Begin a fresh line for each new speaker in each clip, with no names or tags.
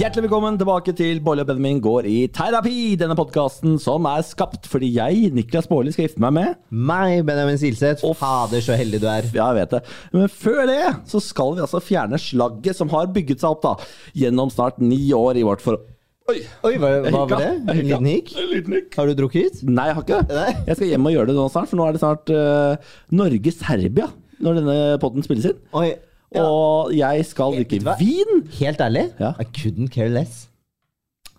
Hjertelig velkommen tilbake til Bolle og Benjamin går i terapi. Denne podkasten som er skapt fordi jeg, Niklas Baarli, skal gifte meg med
Meg, Benjamin Silseth. Fader, så heldig du er.
Ja, jeg vet det. Men før det så skal vi altså fjerne slagget som har bygget seg opp da, gjennom snart ni år i vårt forhold. Oi!
Oi, hva,
jeg
hva
hikka.
var det?
Jeg
En
hikka.
liten hikk?
En liten hikk.
Har du drukket?
Nei, jeg har ikke det.
Nei.
Jeg skal hjem og gjøre det nå snart, for nå er det snart eh, Norge-Serbia når denne podden spilles inn.
Oi. Ja.
Og jeg skal
Vet du
drikke
hva?
vin.
Helt ærlig,
Ja.
I couldn't care less.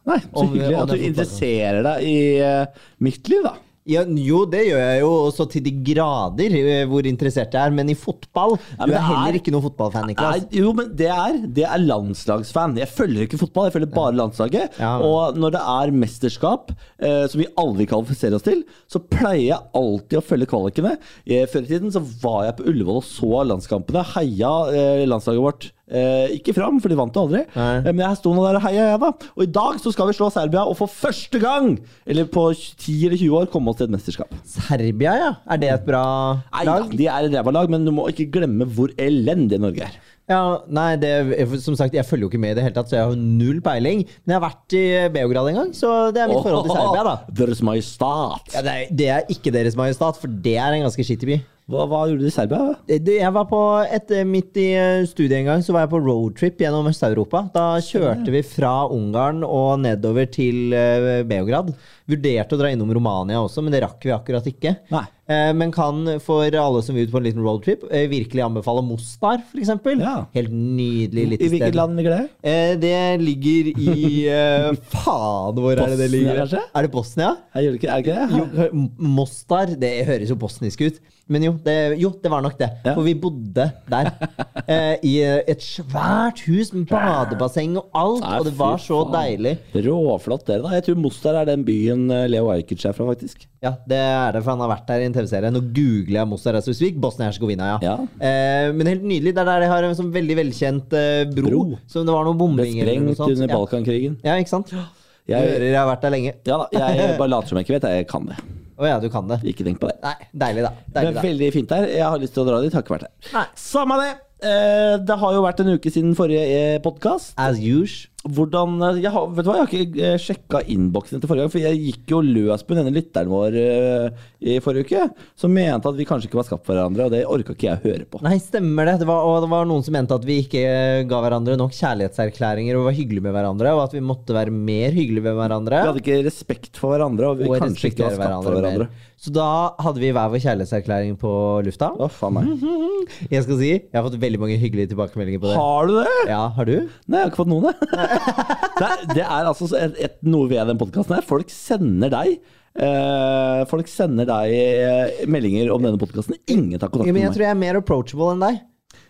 Nei, så
Om-
hyggelig
om
at du
det er fotball.
interesserer deg i eh, mitt liv, da.
Ja, jo, det gjør jeg jo også til de grader eh, hvor interessert jeg er, men i fotball
Ja, men
Du
det
er heller
er-
ikke noen fotballfan, Niklas.
Nei, jo, men det er, det er landslagsfan. Jeg følger ikke fotball, jeg følger bare landslaget.
Ja.
Og når det er mesterskap, eh, som vi aldri kvalifiserer oss til, så pleier jeg alltid å følge kvalikene. Eh, Før i tiden så var jeg på Ullevål og så landskampene, heia eh, landslaget vårt. Eh, ikke fram, for de vant jo aldri.
Nei.
Eh, men jeg sto nå der og heia, jeg, da. Og i dag så skal vi slå Serbia, og for første gang, eller på 10 eller 20 år, komme oss til et mesterskap.
Serbia, ja. Er det et bra
Nei, ja,
lag?
de er et ræva lag, men du må ikke glemme hvor elendig Norge er.
Ja, nei, det, som sagt, jeg følger jo ikke med i det hele tatt, så jeg har jo null peiling. Men jeg har vært i Beograd en gang, så det er mitt forhold til Serbia, da.
There's my stat.
Ja, det, er, det er ikke Deres Majestat, for det er en ganske skittig by.
Hva, hva gjorde du i Serbia?
Det- det- Eh, Jeg var på et, Midt i eh, studiet en gang så var jeg på roadtrip gjennom Øst-Europa. Da kjørte vi fra Ungarn og nedover til eh, Beograd. Vurderte å dra innom Romania også, men det rakk vi akkurat ikke.
Nei.
Eh, Men kan for alle som vil ut på en liten roadtrip, eh, virkelig anbefale Mostar, f.eks.
Ja.
Helt nydelig
I
lite sted.
hvilket land ligger det?
Eh, Det ligger i eh, Faen, hvor er det det
Bosnia,
ligger?
kanskje?
Er det Bosnia?
Jeg gjør det ikke, er det ikke
Jo,
det?
M- Mostar, det høres jo bosnisk ut. Men jo, det, jo, det var nok det.
Ja.
For vi bodde der. eh, I et svært hus med badebasseng og alt.
Nei,
og det var
fy
så
faen.
deilig.
Råflott dere, da. Jeg tror Mostar er den byen eh, Leo Ajkic er fra, faktisk.
Ja, det er det, for han har vært der i en TV-serie. Nå googler jeg Mostar Rasmusvik. Bosnia-Hercegovina, ja.
Ja.
Eh, men helt nydelig. Det er der de har en sånn veldig velkjent eh, bro,
Bro.
Som det var noen
Ble
bombinger eller noe
sprengt
sånt.
under
Ja.
Balkankrigen.
Ja, ikke sant? Du
Jeg-
hører jeg har vært der lenge.
Ja da, jeg bare later som jeg ikke vet. Jeg kan det.
Å ja, du kan det.
Ikke tenk på det.
Nei, deilig, da.
Det
Deilig,
er
da.
veldig fint her. Jeg har lyst til å dra dit. Har ikke vært her.
Nei.
Samme det. Eh, Det har jo vært en uke siden forrige eh, podkast.
As usual.
Hvordan eh, jeg har, Vet du hva, jeg har ikke sjekka innboksen etter forrige gang, for jeg gikk jo løs på denne lytteren vår eh, i forrige uke, som mente at vi kanskje ikke var skapt for hverandre, og det orka ikke jeg å høre på.
Nei, stemmer det. det var, og det var noen som mente at vi ikke eh, ga hverandre nok kjærlighetserklæringer og var hyggelige med hverandre, og at vi måtte være mer hyggelige med hverandre.
Vi hadde ikke respekt for hverandre, og vi
Og
kanskje ikke var
respektere
skapt for
hverandre,
hverandre.
mer. Så da hadde vi hver vår kjærlighetserklæring på lufta.
Å, faen meg.
Mhm. Jeg skal si, jeg har fått veldig mange hyggelige tilbakemeldinger på det.
Har du det?
Ja, har du?
Nei, jeg har ikke fått noen, jeg. Det er, det er altså så et, et, noe ved den podkasten her. Folk sender deg eh, folk sender deg eh, meldinger om denne podkasten. Ingen tar kontakt
Ja, men
med
jeg
meg.
tror jeg er mer approachable enn deg.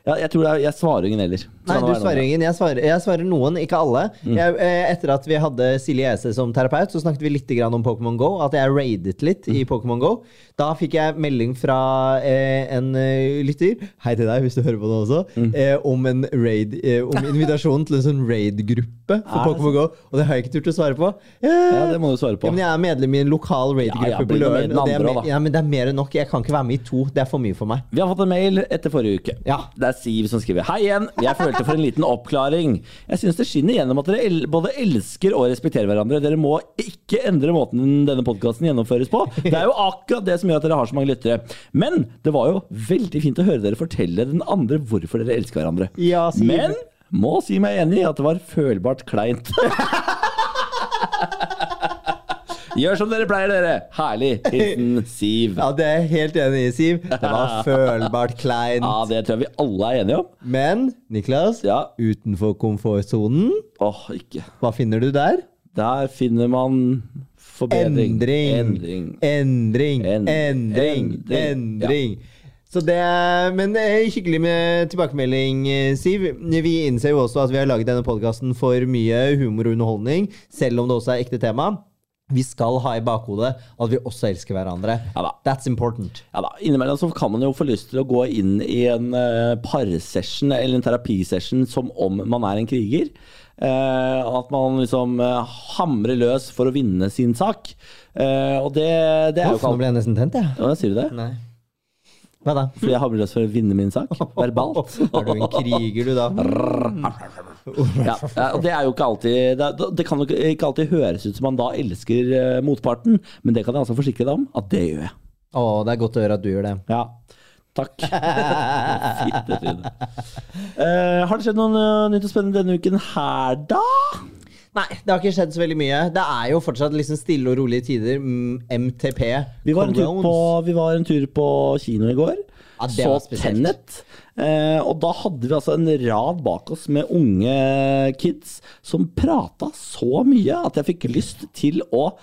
Ja, jeg tror det er, jeg svarer ingen heller.
Nei,
Sånn
du
er det. Mm.
svarer ingen. Jeg svarer, jeg svarer noen, ikke alle. Jeg, eh, etter at vi hadde Silje Ese som terapeut, så snakket vi litt grann om Pokémon GO. At jeg raidet litt
Mm.
i Pokémon GO. Da fikk jeg melding fra eh, en eh, lytter, hei til deg hvis du hører på nå også,
Mm.
eh, om en raid, eh, om invitasjon til en sånn raid-gruppe for
Er Ah, det
Pokémon GO. Og det har jeg ikke turt å svare på. Eh,
Ja, det må du svare på.
ja, men jeg er medlem i en lokal raid-gruppe
Ja, ja,
på
bli noe
Løren.
med den
og Det, er
andre
me-
også, da.
ja, men det er mer enn nok. Jeg kan ikke være med i to. Det er for mye for meg.
Vi har fått en mail etter forrige uke.
Ja.
Det er Siv som skriver. Hei igjen. Jeg følte for en liten oppklaring. Jeg syns det skinner gjennom at dere el både elsker og respekterer hverandre. Dere må ikke endre måten denne podkasten gjennomføres på. Det er jo akkurat det som gjør at dere har så mange lyttere. Men det var jo veldig fint å høre dere fortelle den andre hvorfor dere elsker hverandre.
Ja, Siv.
Men må si meg enig i at det var følbart kleint. Gjør som dere pleier, dere. Herlig. Hilsen Siv.
Ja, det er jeg helt enig i, Siv. Det var følbart kleint.
Ja, det tror jeg vi alle er enige om.
Men Niklas,
Ja.
utenfor komfortsonen,
Åh, ikke.
hva finner du der?
Der finner man Forbedring. Endring.
Endring. Endring.
End-
Endring.
endring.
Endring. Så det er, men eh, hyggelig med tilbakemelding, eh, Siv. Vi innser jo også at vi har laget denne podkasten for mye humor og underholdning, selv om det også er ekte tema. Vi skal ha i bakhodet at vi også elsker hverandre.
Ja da.
That's important.
Ja da, Innimellom så kan man jo få lyst til å gå inn i en uh, parsession eller en terapisession som om man er en kriger. Eh, at man liksom eh, hamrer løs for å vinne sin sak. Eh, og det, det er jo
Uff,
ikke
nå ble jeg nesten tent, jeg.
alt- Hva sier du det?
Nei. Hva da?
Fordi jeg hamrer løs for å vinne min sak? Verbalt.
Er du en kriger, du, da?
Ja, ja, og det er jo ikke alltid Det, er- det kan jo ikke- ikke alltid høres ut som man da elsker eh, motparten, men det kan jeg altså forsikre deg om at det gjør jeg.
Å, det er godt å høre at du gjør det.
Ja. Takk. Fitte tryne. Eh, har det skjedd noe eh, nytt og spennende denne uken her, da?
Nei, det har ikke skjedd så veldig mye. Det er jo fortsatt liksom stille og rolige tider. Mm, MTP.
Vi var, en tur
Corones.
på, vi var en tur på kino i går.
Ja, det
så
var spesielt.
Tenet. Eh, og da hadde vi altså en rad bak oss med unge kids som prata så mye at jeg fikk lyst til å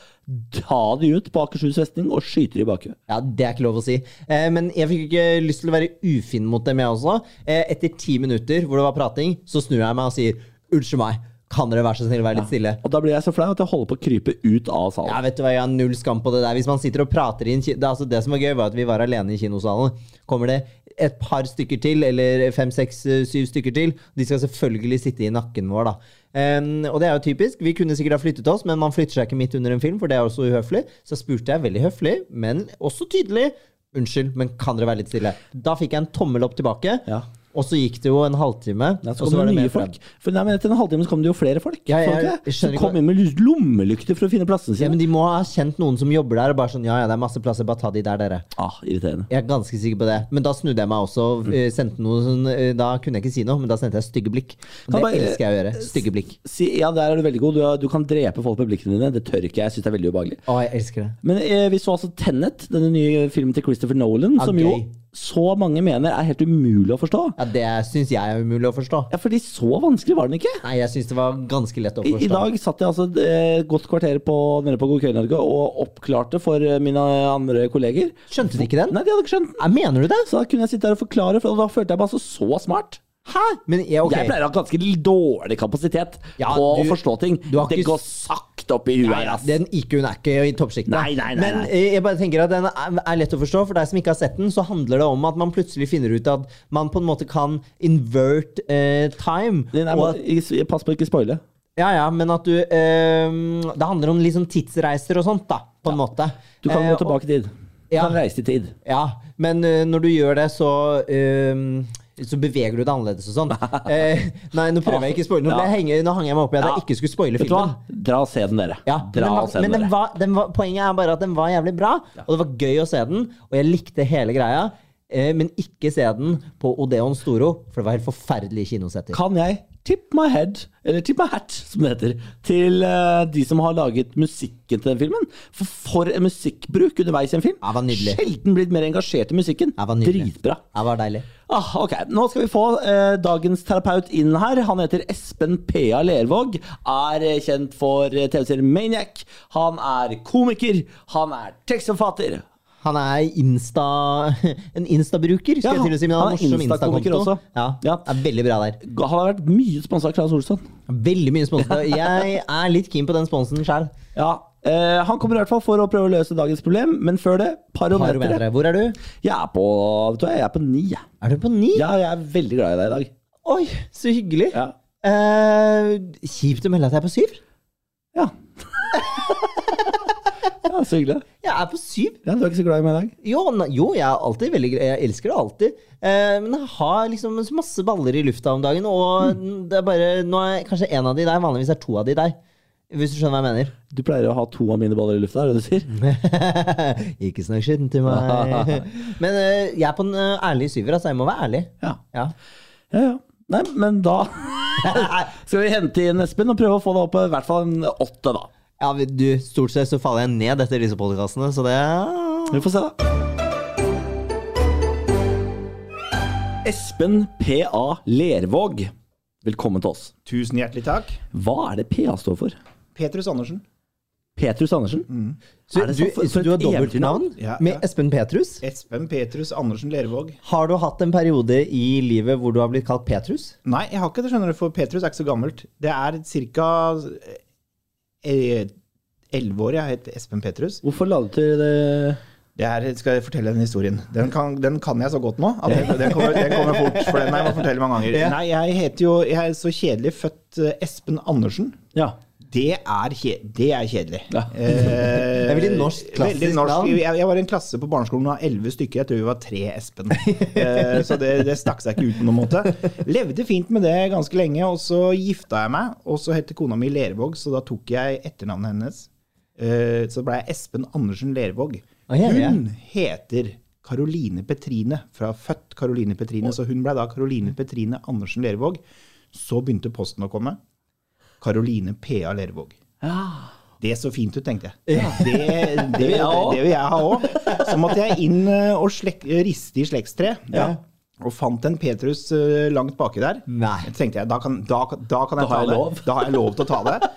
ta de ut på Akershus festning og skyte de i bakhuet.
Ja, Det er ikke lov å si. Eh, men jeg fikk ikke lyst til å være ufin mot dem, jeg også. Eh, etter ti minutter hvor det var prating, så snur jeg meg og sier unnskyld meg, kan dere være så snill å være litt stille?
Og da ble jeg så flau at jeg holder på å krype ut av salen.
Ja, vet du hva, Jeg har null skam på det der. Hvis man sitter og prater i en ki- det, altså, det som var gøy, var at vi var alene i kinosalen. Kommer det et par stykker til, eller fem, seks, eh, syv stykker til, de skal selvfølgelig sitte i nakken vår, da. Em, og det er jo typisk. Vi kunne sikkert ha flyttet oss, men man flytter seg ikke midt under en film, for det er også uhøflig. Så spurte jeg veldig høflig, men også tydelig. Unnskyld, men kan dere være litt stille? Da fikk jeg en tommel opp tilbake,
Ja.
og så gikk det jo en halvtime.
Ja,
og
så kom det
var det
nye
mer
folk. For nei, men Etter en halvtime så kom det jo flere folk.
Ja,
Så
jeg-
ikke det?
jeg skjønner
Som
ikke
kom
hva-
inn med lys- lommelykter for å finne plassene
Ja,
sine.
men De må ha kjent noen som jobber der, og bare sånn ja ja, det er masse plasser, bare ta de der, dere.
Ah, irriterende.
Jeg er ganske sikker på det. Men da snudde jeg meg også.
Mm.
eh, Sendte noe, sånn, eh, da kunne jeg ikke si noe, men da sendte jeg stygge blikk.
Kan
Og det
bare-
elsker jeg å gjøre. Stygge blikk.
Si, ja, der er du veldig god. Du, er- du kan drepe folk med blikkene dine. Det tør ikke jeg. Jeg syns det er veldig ubehagelig.
Å, jeg elsker det.
Men eh, vi så altså Tenet, denne nye filmen til Christopher Nolan,
Ja,
som jo
Ah, gøy.
så mange mener er helt umulig å forstå.
Ja, Det syns jeg er umulig å forstå.
Ja, fordi så vanskelig var den ikke.
Nei, jeg syns det var ganske lett å
I,
forstå.
I dag satt jeg altså et eh, godt kvarter på, nede på God kveld Norge og oppklarte for eh, mine andre kolleger.
Skjønte de ikke den?
Nei, de hadde ikke skjønt den.
Nei, mener du det?
Så da kunne jeg sitte der og forklare, for og da følte jeg meg altså så smart.
Hæ? Men jeg, ok.
Jeg pleier å ha ganske dårlig kapasitet
Ja,
på å
du-
forstå ting.
du har
Det
ikke-
går sakte opp i huet
Nei,
her,
ja,
ass.
den IQ-en er ikke i toppsjiktet.
Nei, nei, nei,
Men
nei.
eh, jeg bare tenker at den er er lett å forstå. For deg som ikke har sett den, så handler det om at man plutselig finner ut at man på en måte kan invert eh, time.
Den er-
og at-
ikke- pass på å ikke spoile.
Ja, ja, men at du ehm, Det handler om liksom tidsreiser og sånt, da, på en måte.
Du kan
Eh,
gå tilbake i tid. Du
ja.
kan reise i tid.
og- Ja, men eh, når du gjør det, så ehm, så beveger du deg annerledes og sånn. Eh, nei, nå prøver jeg ikke å spoile. Nå, ble jeg henge, nå hang jeg meg opp i at
Ja.
jeg ikke skulle spoile
Vet du hva?
filmen.
Dra og se den, dere.
Ja, men den
Dra og
var,
se
men
den,
den
dere.
var, den var, poenget er bare at den var jævlig bra, og det var gøy å se den. Og jeg likte hele greia, eh, men ikke se den på Odeon Storo, for det var helt forferdelige kinosetter.
Kan jeg tip my head, eller tip my hat, som det heter, til eh, de som har laget musikken til den filmen? For for en musikkbruk underveis i en film.
Ja, det var nydelig.
Sjelden blitt mer engasjert i musikken.
Ja, det var nydelig.
Dritbra.
Det var deilig.
Ah, ok, Nå skal vi få eh, dagens terapeut inn her. Han heter Espen P.A. Lervåg. Er eh, kjent for eh, TV-serien Maniac. Han er komiker. Han er tekstforfatter.
Han er insta, en Insta-bruker, skal
Ja,
jeg til å si. Men han
han
har
er
morsom
Insta-komiker
Insta-konto.
også.
Ja,
Ja.
Er veldig bra der.
Han har vært mye sponsa av Claes Olsson.
Veldig mye sponsa. Jeg er litt keen på den sponsen sjøl.
Ja, eh, Han kommer i hvert fall for å prøve å løse dagens problem, men før Sånn det, parometeret.
Hvor er du?
Jeg er på vet du hva, jeg er på ni. jeg.
Er du på ni?
Ja, jeg er veldig glad i deg i dag.
Oi, så hyggelig.
Ja.
Eh, kjipt å melde at jeg er på syv.
Ja, ja Så hyggelig.
Jeg er på syv.
Ja, du er ikke så glad i meg i dag?
Jo, ne- jo jeg er alltid veldig gre- Jeg elsker det alltid. Eh, men jeg har liksom så masse baller i lufta om dagen, og
Mm.
det er bare Nå er kanskje én av de der. Vanligvis er to av de der. Hvis du skjønner hva jeg mener.
Du pleier å ha to av mine baller i lufta, er det det du sier?
ikke snakk skitten til meg. Men eh, jeg er på en eh, ærlig syver, altså. Jeg må være ærlig.
Ja.
Ja.
Ja, ja. Nei, men da skal vi hente inn Espen og prøve å få det opp på i hvert fall en åtte, da.
ja, men du, stort sett så faller jeg ned etter disse podkastene, så det
Vi får se, da. Espen PA Lervåg, velkommen til oss.
Tusen hjertelig takk.
Hva er det PA står for?
Petrus Andersen.
Petrus Andersen.
Så,
Er det
du,
sant? For- for
så du har
et
dobbeltnavn
eventyrnavn?
Ja,
med
ja.
Espen Petrus?
Espen Petrus Andersen Lervåg.
Har du hatt en periode i livet hvor du har blitt kalt Petrus?
Nei, jeg har ikke det, skjønner du, for Petrus er ikke så gammelt. Det er ca. elleve år jeg har hett Espen Petrus.
Hvorfor la du til eh, det?
Det er, skal jeg fortelle den historien. Den kan, den kan jeg så godt nå. At den, den, kommer, den kommer fort, for den har jeg må fortelle mange ganger.
Ja.
Nei, jeg heter jo Jeg er så kjedelig født eh, Espen Andersen.
Ja.
Det er, kje- det er kjedelig.
Ja.
Eh,
Det er veldig norsk, klassisk
veldig norsk.
navn.
Jeg, jeg var i en klasse på barneskolen av elleve stykker. Jeg tror vi var tre Espen. Eh, så det, det stakk seg ikke ut på noen måte. Levde fint med det ganske lenge, og så gifta jeg meg. Og så het kona mi Lervåg, så da tok jeg etternavnet hennes. Eh, så ble jeg Espen Andersen Lervåg.
Å, ja, ja.
Hun heter Caroline Petrine, fra født Caroline Petrine. Så hun ble da Caroline Petrine Andersen Lervåg. Så begynte posten å komme. Caroline P.A. Lervåg. Det så fint ut, tenkte jeg. Det, det, det,
vil jeg ha.
vil jeg ha òg. Så måtte jeg inn eh, og slek, riste i slektstreet.
Ja.
Og fant en Petrus eh, langt baki der.
Nei.
Så tenkte jeg, da kan, da, kan- da kan
Da
jeg
har jeg
ta
lov.
det. Da har jeg lov til å ta det.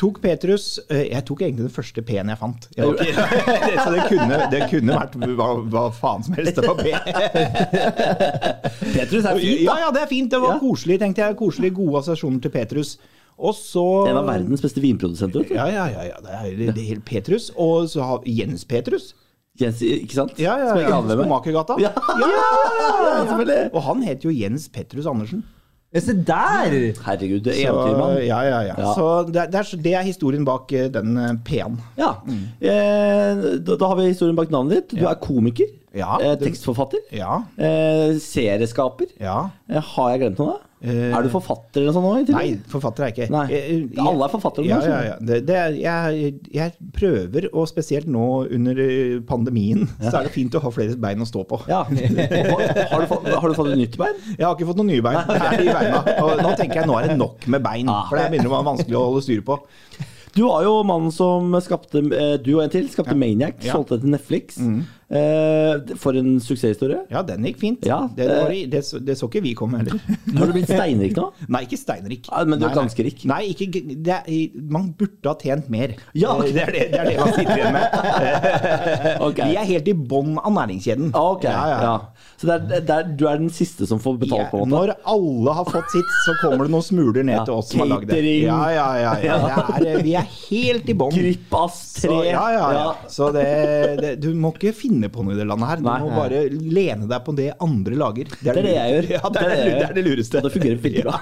Tok Petrus eh, Jeg tok egentlig den første P-en jeg fant. Jeg var ikke, så det kunne, det kunne vært hva, hva faen som helst. Det var P.
Petrus er fint,
Ja,
da!
ja, det er fint. Det var
Ja.
koselig, tenkte jeg. Koselig, gode assosiasjoner til Petrus. Og så
En av verdens beste vinprodusenter. vet du.
Ja, ja, ja. ja. Det er, det er helt Petrus. Og så har vi Jens Petrus.
Jens, ikke sant?
Ja, ja,
Som jeg ikke
ja.
aner hvem er.
Skomakergata.
Ja. Ja, selvfølgelig.
Og han het jo Jens Petrus Andersen.
Ja, Se der!
Herregud, det er
Så,
eventyrmann.
ja, ja, ja.
Ja.
så det, er- det, er, så- det er historien bak eh, den eh, P-en.
Ja. Eh, da, da har vi historien bak navnet ditt. Du er komiker.
Ja.
eh, tekstforfatter.
Ja.
Eh, serieskaper.
ja.
Eh, har jeg glemt noe, da?
Eh,
er du forfatter eller noe sånt nå? i tillegg?
Nei, forfatter er jeg ikke.
Nei.
Jeg- jeg-
Alle er forfattere nå,
Ja, ja,
skjønner
ja. Det, det er, jeg, jeg prøver, og spesielt nå under eh, pandemien, så er det fint å ha flere bein å stå på.
Ja. Har du, fått, har du fått et nytt bein?
Jeg har ikke fått noen nye bein. Det er de beina. Og nå tenker jeg nå er det nok med bein,
Ah.
for det begynner å være vanskelig å holde styr på.
Du var jo mannen som skapte eh, Du og en til skapte Maniac,
Ja. Mm.
solgte det til Netflix. Eh, for en suksesshistorie.
Ja, den gikk fint.
Ja,
det, det, var, det, så, det så ikke vi komme heller.
Har du blitt steinrik nå?
Nei, ikke steinrik.
Ja, men du er
Nei, nei.
ganske rik.
Nei, ikke, det er, man burde ha tjent mer.
Ja.
Eh, Det, er det, det er det man sitter igjen med.
Ok. Ah,
Vi er helt i bånn av næringskjeden.
Ok, ja,
Ja, ja, ja.
Så det er, det er, du er den siste som får
Ja,
betalt, på en måte?
når alle har fått sitt, så kommer det noen smuler ned
Ja,
til oss som har lagd det.
catering.
Ja, ja, ja, ja. Det er, eh, vi er helt i bånn.
Gripas
Så,
tre!
ja, ja, ja.
Ja.
Så det, det, du må ikke finne på noe i det landet her. Du
Nei.
må bare lene deg på det andre lager.
Det er det jeg gjør.
Ja, det, er, det, det er det lureste.
Og det fungerer veldig bra.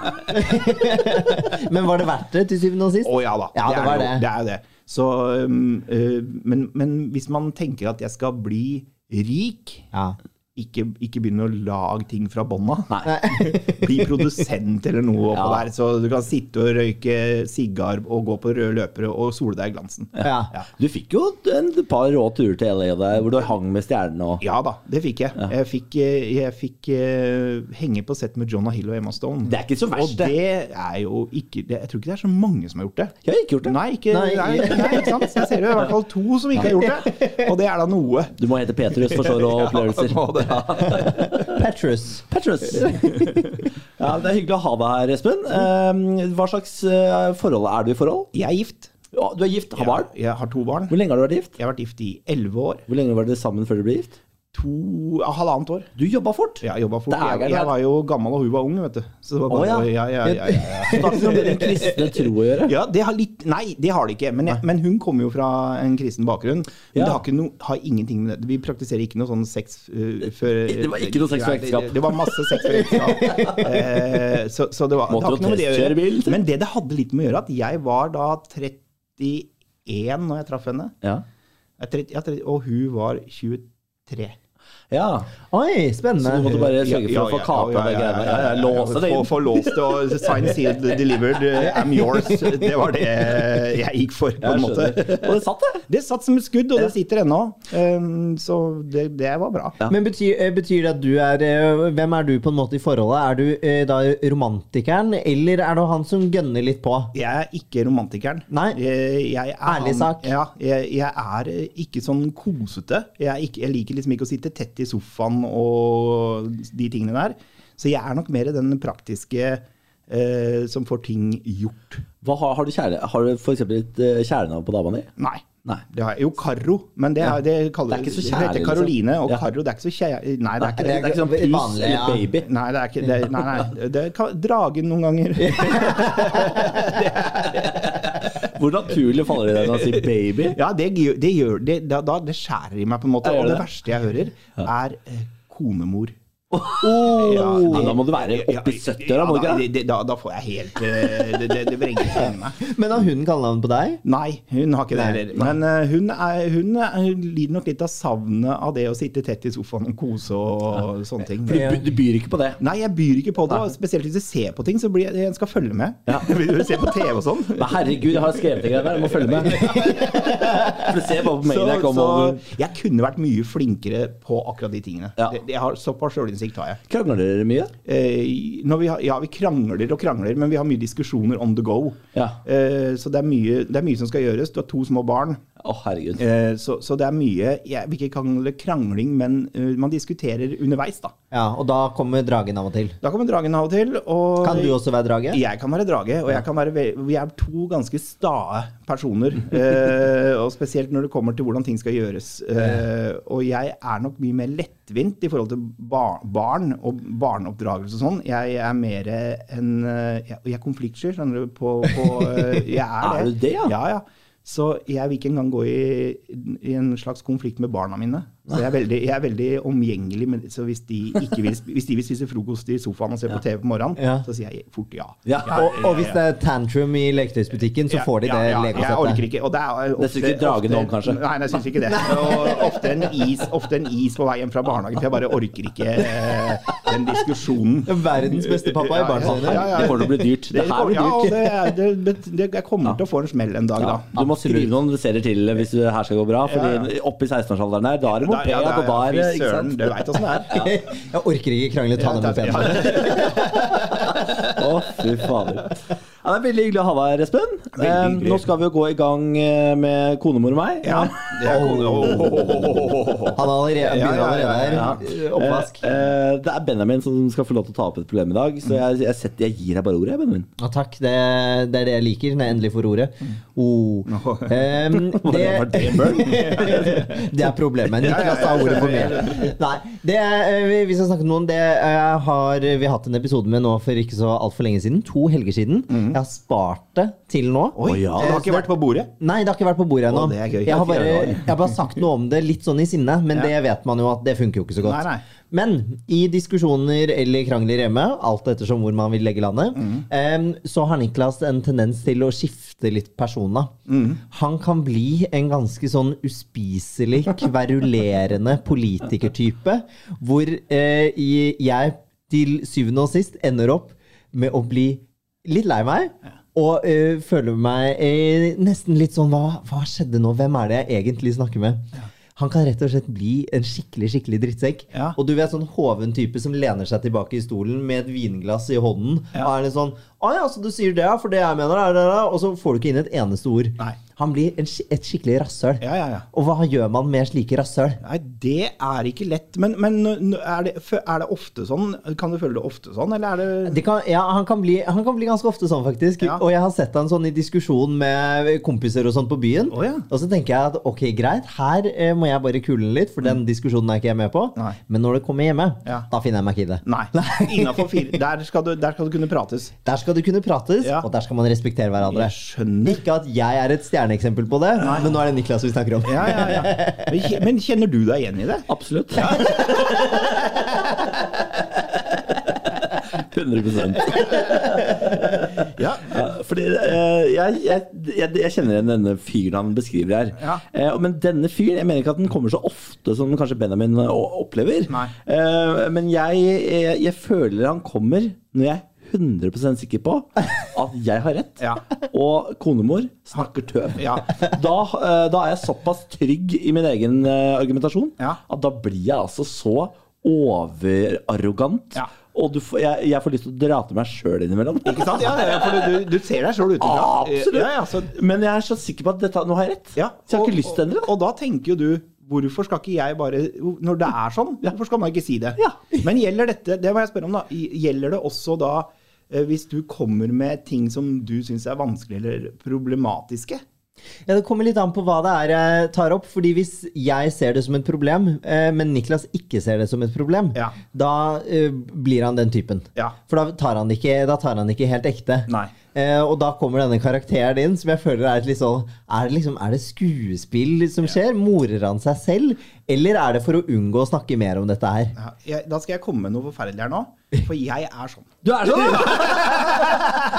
Men var det verdt det til syvende og sist?
Å ja da.
Ja, det
er
var
jo-
det.
det er jo det. Så, um, eh, men, men hvis man tenker at jeg skal bli rik
Ja.
ikke, ikke begynne å lage ting fra bånn av.
Nei.
Bli produsent eller noe oppå
Ja.
der, så du kan sitte og røyke sigar og gå på røde løpere og sole deg i glansen.
Ja.
Du fikk jo en et par rå turer til LA der, hvor du hang med stjernene og
Ja da, det fikk jeg. Jeg fikk, eh, jeg fikk eh, henge på sett med Jonah Hill og Emma Stone.
Det er ikke så verst,
Og det er jo ikke det, Jeg tror ikke det er så mange som har gjort det.
Jeg har ikke gjort det.
Nei, ikke,
Nei.
nei. Nei, ikke sant? Så Jeg ser jo i hvert fall to som ikke har gjort det, og det er da noe.
Du må hete Petrus for så rå opplevelser.
må det.
Petrus.
Petrus! Ja, det er hyggelig å ha deg her, Espen. Eh, Hva slags eh, forhold er du i forhold?
Jeg er gift.
Ja, Du er gift, har barn.
Jeg, jeg har to barn.
Hvor lenge har du vært gift?
Jeg har vært gift i elleve år.
Hvor lenge var dere sammen før dere ble gift?
To ja, halvannet år.
Du jobba fort!
Jeg jobba fort.
Det er
Jeg,
gærent.
jeg var jo gammel og hun var ung, vet du. Så det var bare,
Å, ja.
ja, ja, ja, ja, ja.
Så det har ikke noe med din kristne tro å gjøre?
Ja, det har litt Nei, det har det ikke. Men, jeg, men hun kommer jo fra en kristen bakgrunn. Men
Ja.
det har, ikke no, har ingenting med det Vi praktiserer ikke noe sånn sex øh, før
Det var ikke noe sex før
Nei,
ekteskap.
Det, det var masse sex før ekteskap. Eh, så, så det var
Måtte
det har
jo
ikke noe med det å
testkjøre bil, så.
gjøre. Men det det hadde litt med å gjøre, at jeg var da 31 når jeg traff henne.
Ja.
Jeg er 30, ja, 30, og hun var 23.
ja.
Oi, spennende.
Så du måtte bare sørge for å få kapet det greiene. Ja, ja, Låse det
Få-
inn.
Få låst det og sign sealed delivered, eh, I'm yours. Det var det eh, jeg gikk for, på
Jeg
en måte.
skjønner. Og det satt, det.
Det satt som et skudd, og det sitter ennå. Um, Så det, det var bra.
Ja.
Men betyr, eh, betyr det at du er eh, Hvem er du på en måte i forholdet? Er du eh, da romantikeren, eller er det han som gønner litt på?
Jeg er ikke romantikeren.
Nei.
Jeg, jeg er
Ærlig sak.
Ja, jeg, jeg er eh, ikke sånn kosete. Jeg, er ikke, jeg liker liksom ikke å sitte tett i sofaen og de tingene der. Så jeg er nok mer den praktiske eh, eh, som får ting gjort.
Hva har, har du, kjære, har du for eksempel et eh, kjælenavn på dama di?
Nei.
Nei.
Det har jeg. Jo, Karo, men det, er, det kaller
Det er ikke så
det
kjærlig,
heter
liksom.
Karoline og
Ja.
Karo. Det er ikke så kjære... Nei, det er ikke
det
det.
er ikke sånn pus
Vanlig,
eller
ja.
baby.
Nei, det er ikke det. Nei, nei. Det kan, dragen noen ganger.
Hvor naturlig faller det deg når han sier baby?
Ja, det, gjør- det gjør det, da, da, det skjærer i meg på en måte.
Ja, gjør
Og det
det.
verste jeg hører, er eh, konemor.
Nei, Oh. da må du være oppi 70-åra, må du ikke
da,
det?
det- da, da får jeg helt eh, Det, det, det vrenger seg inni meg.
Men har hun kallenavn på deg?
Nei, hun har ikke det
Nei.
heller. Men eh, hun, er, hun, er, hun lider nok litt av savnet av det å sitte tett i sofaen og kose og sånne ting.
For du, du byr ikke på det.
Nei, jeg byr ikke på det. og Spesielt hvis jeg ser på ting, så blir jeg, jeg skal følge med. Vil du se på TV og sånn?
Men herregud, jeg har skrevet en greie der, jeg må følge med. For du ser bare på
Så,
mailen jeg kom
så
over.
jeg kunne vært mye flinkere på akkurat de tingene.
Ja.
Det, det har, såpass sjølinnsikt har jeg.
Krangler dere mye?
Eh, når vi har, ja, vi krangler og krangler, men vi har mye diskusjoner on the go.
Ja.
Eh, så det er, mye, det er mye som skal gjøres. Du har to små barn.
Å, herregud.
Eh, så, så det er mye Jeg vil ikke kalle det krangling, men eh, man diskuterer underveis, da.
Ja, og da kommer dragen av og til.
Da kommer dragen av og til. Og
Kan du også være drage?
Jeg kan være drage, og jeg kan være ve- vi er to ganske stae personer. eh, og spesielt når det kommer til hvordan ting skal gjøres. Eh, og jeg er nok mye mer lettvint i forhold til bar barn og barneoppdragelse og sånn. Jeg er mer en eh, jeg- Og jeg er konfliktsky, skjønner du. På, på, eh, jeg er,
Er du det, ja?
ja? Ja, Så jeg vil ikke engang gå i, i en slags konflikt med barna mine. Så jeg er veldig, jeg er veldig omgjengelig. Med, så hvis de, ikke vil, sp- hvis de vil spise frokost i sofaen og se på TV på morgenen,
Ja.
så sier jeg fort ja.
Ja.
Og, og hvis det er tantrum i leketøysbutikken, så får de det
Jeg orker
lekesettet.
ikke. Og det er ofte,
Det synes ikke dragen
ofte-
om, kanskje?
Nei, jeg syns ikke det. Og ofte en, is, ofte en is på vei hjem fra barnehagen, for jeg bare orker ikke eh, den diskusjonen.
Verdens beste pappa i barnehagen.
Ja, ja.
Det kommer til å bli dyrt. Det her blir
ja, og
dyrt.
det, er- det, det, jeg kommer til å få en smell en dag,
Ja.
da.
Du må skrive noen serier til hvis det her skal gå bra.
Ja,
Fordi oppe i 16-årsalderen her, da er det moped,
ja,
og da er det
fy
ikke
søren,
sant?
Du veit åssen det er.
Jeg orker ikke krangle, ta den med
Ja,
penen.
Å, fy fader. Ja, det er veldig hyggelig å ha deg her, Espen. Eh,
hyggelig.
nå skal vi jo gå i gang eh, med konemor og meg.
Ja, det er kone.
Han er allerede,
Ja,
begynner
ja, ja,
allerede
ja,
her. Oppvask.
Eh, eh, det er Benjamin som skal få lov til å ta opp et problem i dag, så jeg, jeg, setter, jeg gir deg bare ordet, jeg, Benjamin.
Ja, takk. Det, det er det jeg liker når jeg endelig får ordet.
Mm.
Oh. Em,
var
det,
det,
det er problemet. Niklas har ordet for mye. Nei, det, eh, vi- vi skal snakke om noen det eh, har vi hatt en episode med nå for ikke så altfor lenge siden. To helger siden. Jeg har spart det til nå.
Mm. Oi,
Å, ja.
det har ikke vært på bordet.
Nei, det har ikke vært på bordet ennå.
Å, det er gøy.
Jeg, har bare-
Det er
jeg har bare sagt noe om det litt sånn i sinne, men det vet man jo at det funker jo ikke så godt.
Nei, nei.
Men i diskusjoner eller krangler hjemme, alt ettersom hvor man vil legge landet, em, så har Niklas en tendens til å skifte litt persona. Han kan bli en ganske sånn uspiselig, kverulerende politikertype, hvor eh, i- jeg til syvende og sist ender opp med å bli litt lei meg. Og eh, føler meg eh, nesten litt sånn hva, hva skjedde nå? Hvem er det jeg egentlig snakker med? Han kan rett og slett bli en skikkelig skikkelig drittsekk.
Ja.
Og du vet sånn hoven type som lener seg tilbake i stolen med et vinglass i hånden. Og er litt sånn Å ja, så du sier det, ja, for det jeg mener, er det, det. Og så får du ikke inn et eneste ord.
Nei.
Han blir en, sk- et skikkelig rasshøl.
Ja, ja, ja.
Og hva gjør man med slike rasshøl?
Nei, det er ikke lett. Men, men nå- er, det, er det ofte sånn? Kan du føle det ofte sånn, eller er det
Det kan, ja, han, kan bli, han kan bli ganske ofte sånn, faktisk.
Ja.
Og jeg har sett han sånn i diskusjon med kompiser og sånt på byen.
Å, ja.
Og så tenker jeg at ok, greit, her eh, må jeg bare kule den litt, for den diskusjonen er ikke jeg med på.
Mm. Nei.
Men når det kommer hjemme,
Ja.
da finner jeg meg ikke i det.
Nei. Innafor fire der skal, du, der skal du kunne prates.
Der skal det kunne prates,
Ja.
og der skal man respektere hverandre.
Jeg skjønner.
Ikke at jeg er et stjerneeksempel på det, men nå er det Niklas vi snakker om.
Ja, ja, ja. Men kje- Men kjenner du deg igjen i det?
Absolutt. 100
Ja.
Ja, Fordi eh, jeg, jeg, jeg, jeg kjenner igjen denne fyren han beskriver her.
Ja.
Eh, men denne fyren, jeg mener ikke at den kommer så ofte som kanskje Benjamin eh, o- opplever.
Nei.
Eh, men jeg, jeg, jeg føler han kommer når jeg er 100 sikker på at jeg har rett,
Ja.
og konemor snakker tøv.
Ja.
Da, eh, da er jeg såpass trygg i min egen eh, argumentasjon
Ja.
at da blir jeg altså så overarrogant.
Ja.
Og du får, jeg, jeg får lyst til å dra til meg sjøl innimellom.
Ikke sant? Ja, ja, ja, for du, du, du ser deg sjøl utenfra.
Ja, Ah, absolutt.
Ja, ja, så,
Men jeg er så sikker på at dette, nå har jeg rett.
ja.
Så jeg har
Og-
ikke lyst til å endre det.
Og, og da tenker jo du Hvorfor skal ikke jeg bare Når det er sånn, hvorfor skal man ikke si det?
Ja.
Men gjelder dette Det må jeg spørre om, da. Gjelder det også da eh, hvis du kommer med ting som du syns er vanskelig eller problematiske.
Ja, Det kommer litt an på hva det er jeg tar opp. fordi hvis jeg ser det som et problem, eh, men Niklas ikke ser det som et problem,
Ja.
da eh, blir han den typen.
Ja.
For da tar han det ikke, da tar han det ikke helt ekte.
Nei.
Eh, og da kommer denne karakteren inn, som jeg føler er et litt sånn Er det, liksom, er det skuespill som skjer? Morer han seg selv? Eller er det for å unngå å snakke mer om dette her?
Ja, jeg, da skal jeg komme med noe forferdelig her nå, for jeg er sånn.
Du er sånn! Yes!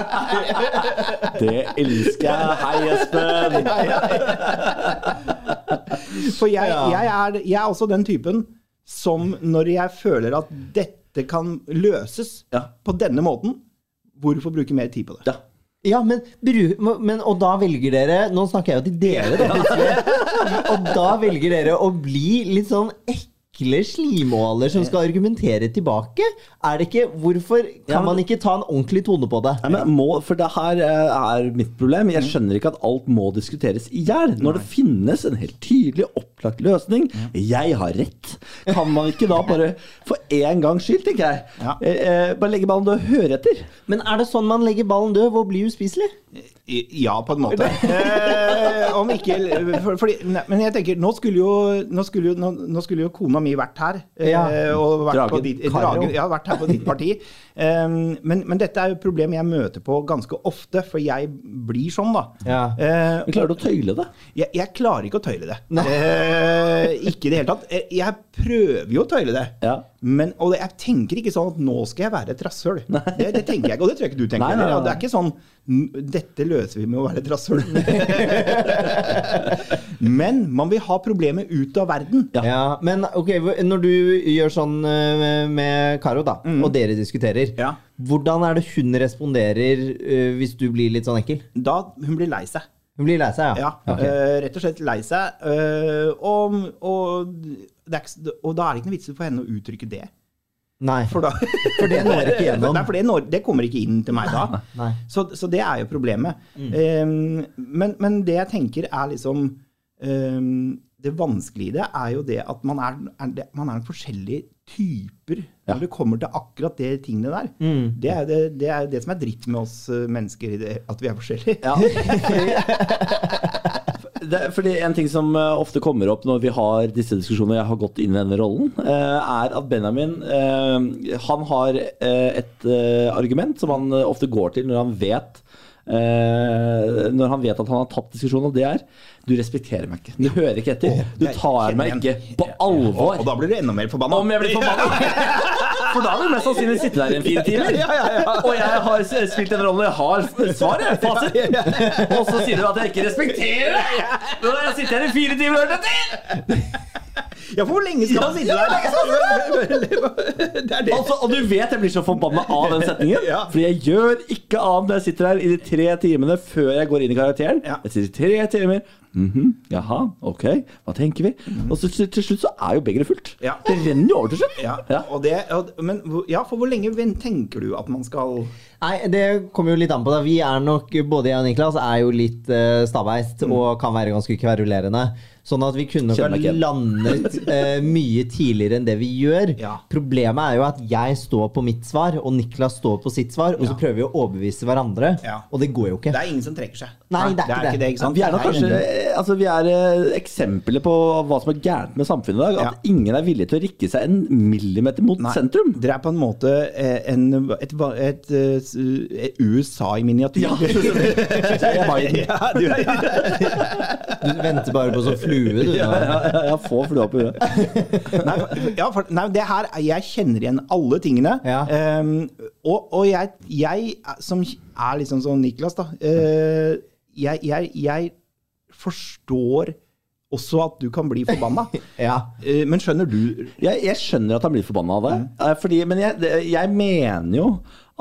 Fuck! Det elsker jeg. Hei, Espen.
For jeg, jeg, er, jeg er også den typen som når jeg føler at dette kan løses
Ja.
på denne måten, hvorfor bruke mer tid på det?
Ja.
Ja, men, bru- men Og da velger dere Nå snakker jeg jo til dere, da. plutselig. Og da velger dere å bli litt sånn ekle slimåler som skal argumentere tilbake? Er det ikke Hvorfor
Ja,
kan
men-
man ikke ta en ordentlig tone på det?
Nei, men må, for det her eh, er mitt problem. Jeg skjønner ikke at alt må diskuteres i hjel. Når det finnes en helt tydelig opplagt løsning, jeg har rett, kan man ikke da bare for én gangs skyld, tenker jeg,
Ja.
eh, eh, bare legge ballen død og høre etter?
Men er det sånn man legger ballen død? Hvor blir uspiselig?
I- Ja, på en måte. Eh, om ikke for, fordi, nei, Men jeg tenker, nå skulle jo, nå skulle jo, nå, nå skulle jo kona mi vært her. eh,
Ja.
Og vært på
Dragen.
ditt,
Karo.
dragen, ja, vært her på ditt parti. Eh, men, men dette er jo et problem jeg møter på ganske ofte, for jeg blir sånn, da.
Ja.
Eh,
Men klarer du å tøyle det?
Jeg, jeg klarer ikke å tøyle det. Eh, ikke i det hele tatt. Eh, Jeg prøver jo å tøyle det.
Ja.
Men, og jeg tenker ikke sånn at nå skal jeg være et rasshøl. Det, det tenker jeg ikke, og det tror jeg ikke du tenker
Nei, nei,
heller.
nei.
Det er ikke sånn "N- Dette løser vi med å være et rasshøl. Men man vil ha problemet ut av verden.
Ja.
Ja, men ok, hvor- når du gjør sånn eh, med Karo, da,
Mm.
og dere diskuterer,
Ja.
hvordan er det hun responderer eh, hvis du blir litt sånn ekkel?
Da hun blir lei seg.
Hun blir lei seg, ja?
Ja, eh, rett og slett lei seg. eh, og, og, det er ikke, s- og da er det ikke noe vits for henne å uttrykke det.
Nei.
For, da,
For det når ikke gjennom.
Nei, for det, når, det kommer ikke inn til meg da.
Nei.
Så, så det er jo problemet.
Mm.
Ehm, men, men det jeg tenker er liksom ehm, Det vanskelige i det er jo det at man er, er, det, man er forskjellige typer når det kommer til akkurat det tingene der.
Mm.
Det, er jo det, det er jo det som er dritt med oss eh, mennesker, i det, at vi er forskjellige.
Ja. Det, er- fordi En ting som eh, ofte kommer opp når vi har disse diskusjonene, og jeg har gått inn i denne rollen, eh, er at Benjamin eh, han har eh, et eh, argument som han eh, ofte går til når han vet eh, når han vet at han har tapt diskusjonen, og det er Du respekterer meg ikke. Du hører ikke etter. Du
jeg
tar
kjenner
meg
igjen.
ikke på
Og,
alvor.
og da blir du enda mer forbanna.
Om jeg blir forbanna! For da vil jeg mest sannsynlig sitte der i en fire timer.
Ja, ja, ja.
Og jeg har s- spilt en rolle, jeg har f- svaret, fasiten. Og så sier du at jeg ikke respekterer deg! Nå har jeg sittet her i fire timer og hørt etter!
Ja, for hvor lenge skal man sitte der? Det er det.
Altså, og du vet jeg blir så forbanna av den setningen.
Ja.
Fordi jeg gjør ikke annet når jeg sitter her i de tre timene før jeg går inn i karakteren.
Ja.
Jeg sitter i tre timer. Mhm, jaha, ok, hva tenker vi? Og så til til slutt så er jo begeret fullt.
Ja.
Det renner jo over til slutt.
Ja,
Ja.
og det, og- men, hvor- ja, for hvor lenge ven- tenker du at man skal
Nei, det kommer jo litt an på det. Vi er nok, både jeg og Niklas, er jo litt uh, stabeist og kan være ganske kverulerende. Sånn at vi kunne nok
Kjenner
ha
meg ikke igjen.
landet eh, mye tidligere enn det vi gjør.
Ja.
Problemet er jo at jeg står på mitt svar, og Niklas står på sitt svar, og så prøver vi å overbevise hverandre,
Ja.
og det går jo
Det
ikke.
er ingen som trekker seg.
Nei, det er ikke det.
ikke det. ikke
Ja,
sant?
vi er nok
Det
kanskje eh, altså, vi er eh, eksempler på hva som er gærent med samfunnet i dag. At ingen er villig til å rikke seg en millimeter mot
Nei,
sentrum.
Dere er på en måte eh, en, et, va- et, eh, s- et USA i miniatyr.
Ja, jeg er Biden.
Ja, du er-
Du venter bare på sånn flue, du.
Ja,
nå.
ja, ja, ja, få flua på huet.
Nei, for- ja, for, nei, det her, jeg kjenner igjen alle tingene.
Ja.
Ehm, og og jeg, jeg, eh, som er liksom som Niklas, da eh, jeg, jeg, jeg forstår også at du kan bli forbanna.
Ja.
Eh, men skjønner du Mm.
Jeg, jeg skjønner at han blir forbanna av det. eh, Fordi, men jeg, det- jeg mener jo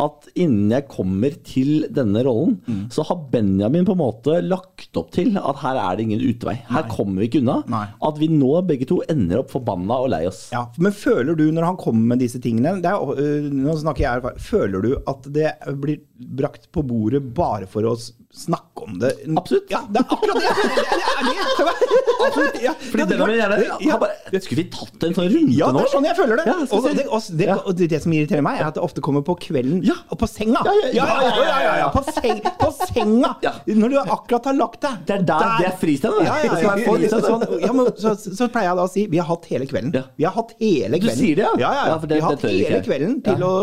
at innen jeg kommer til denne rollen,
Mm.
så har Benjamin på en måte lagt opp til at her er det ingen utvei. Her kommer vi ikke unna.
Nei.
At vi nå begge to ender opp forbanna og lei oss.
Ja, Men føler du, når han kommer med disse tingene det er, jo- øh, Nå snakker jeg erfaring. Føler du at det blir brakt på bordet bare for å s- snakke om det?
Absolutt.
Ja, det er akkurat det! jeg føler. Det er det! jeg føler. Absolutt, ja.
Fordi
Det hadde
Benjamin
vært-
gjerne
ja.
har bare, Skulle vi tatt en sånn runde
Ja,
nå?
det er sånn jeg føler det.
Ja,
og, det, og, det,
Ja.
og det, det som irriterer meg, er at det ofte kommer på kvelden
Ja.
og på senga.
Ja, ja, ja, ja, ja, ja, ja.
På, seng, på senga!
Ja.
Når du akkurat har lagt deg.
Det er der- det er fristed, det.
Ja, ja,
Det
ja,
skal være fristed.
Sånn, ja, men, så, så pleier jeg da å si vi har hatt hele kvelden.
Ja.
Vi har hatt hele
Du
kvelden.
sier det, ja?
Ja, ja,
Ja, for det-
vi har
det
hatt
tør ikke
hele
jeg.
kvelden til å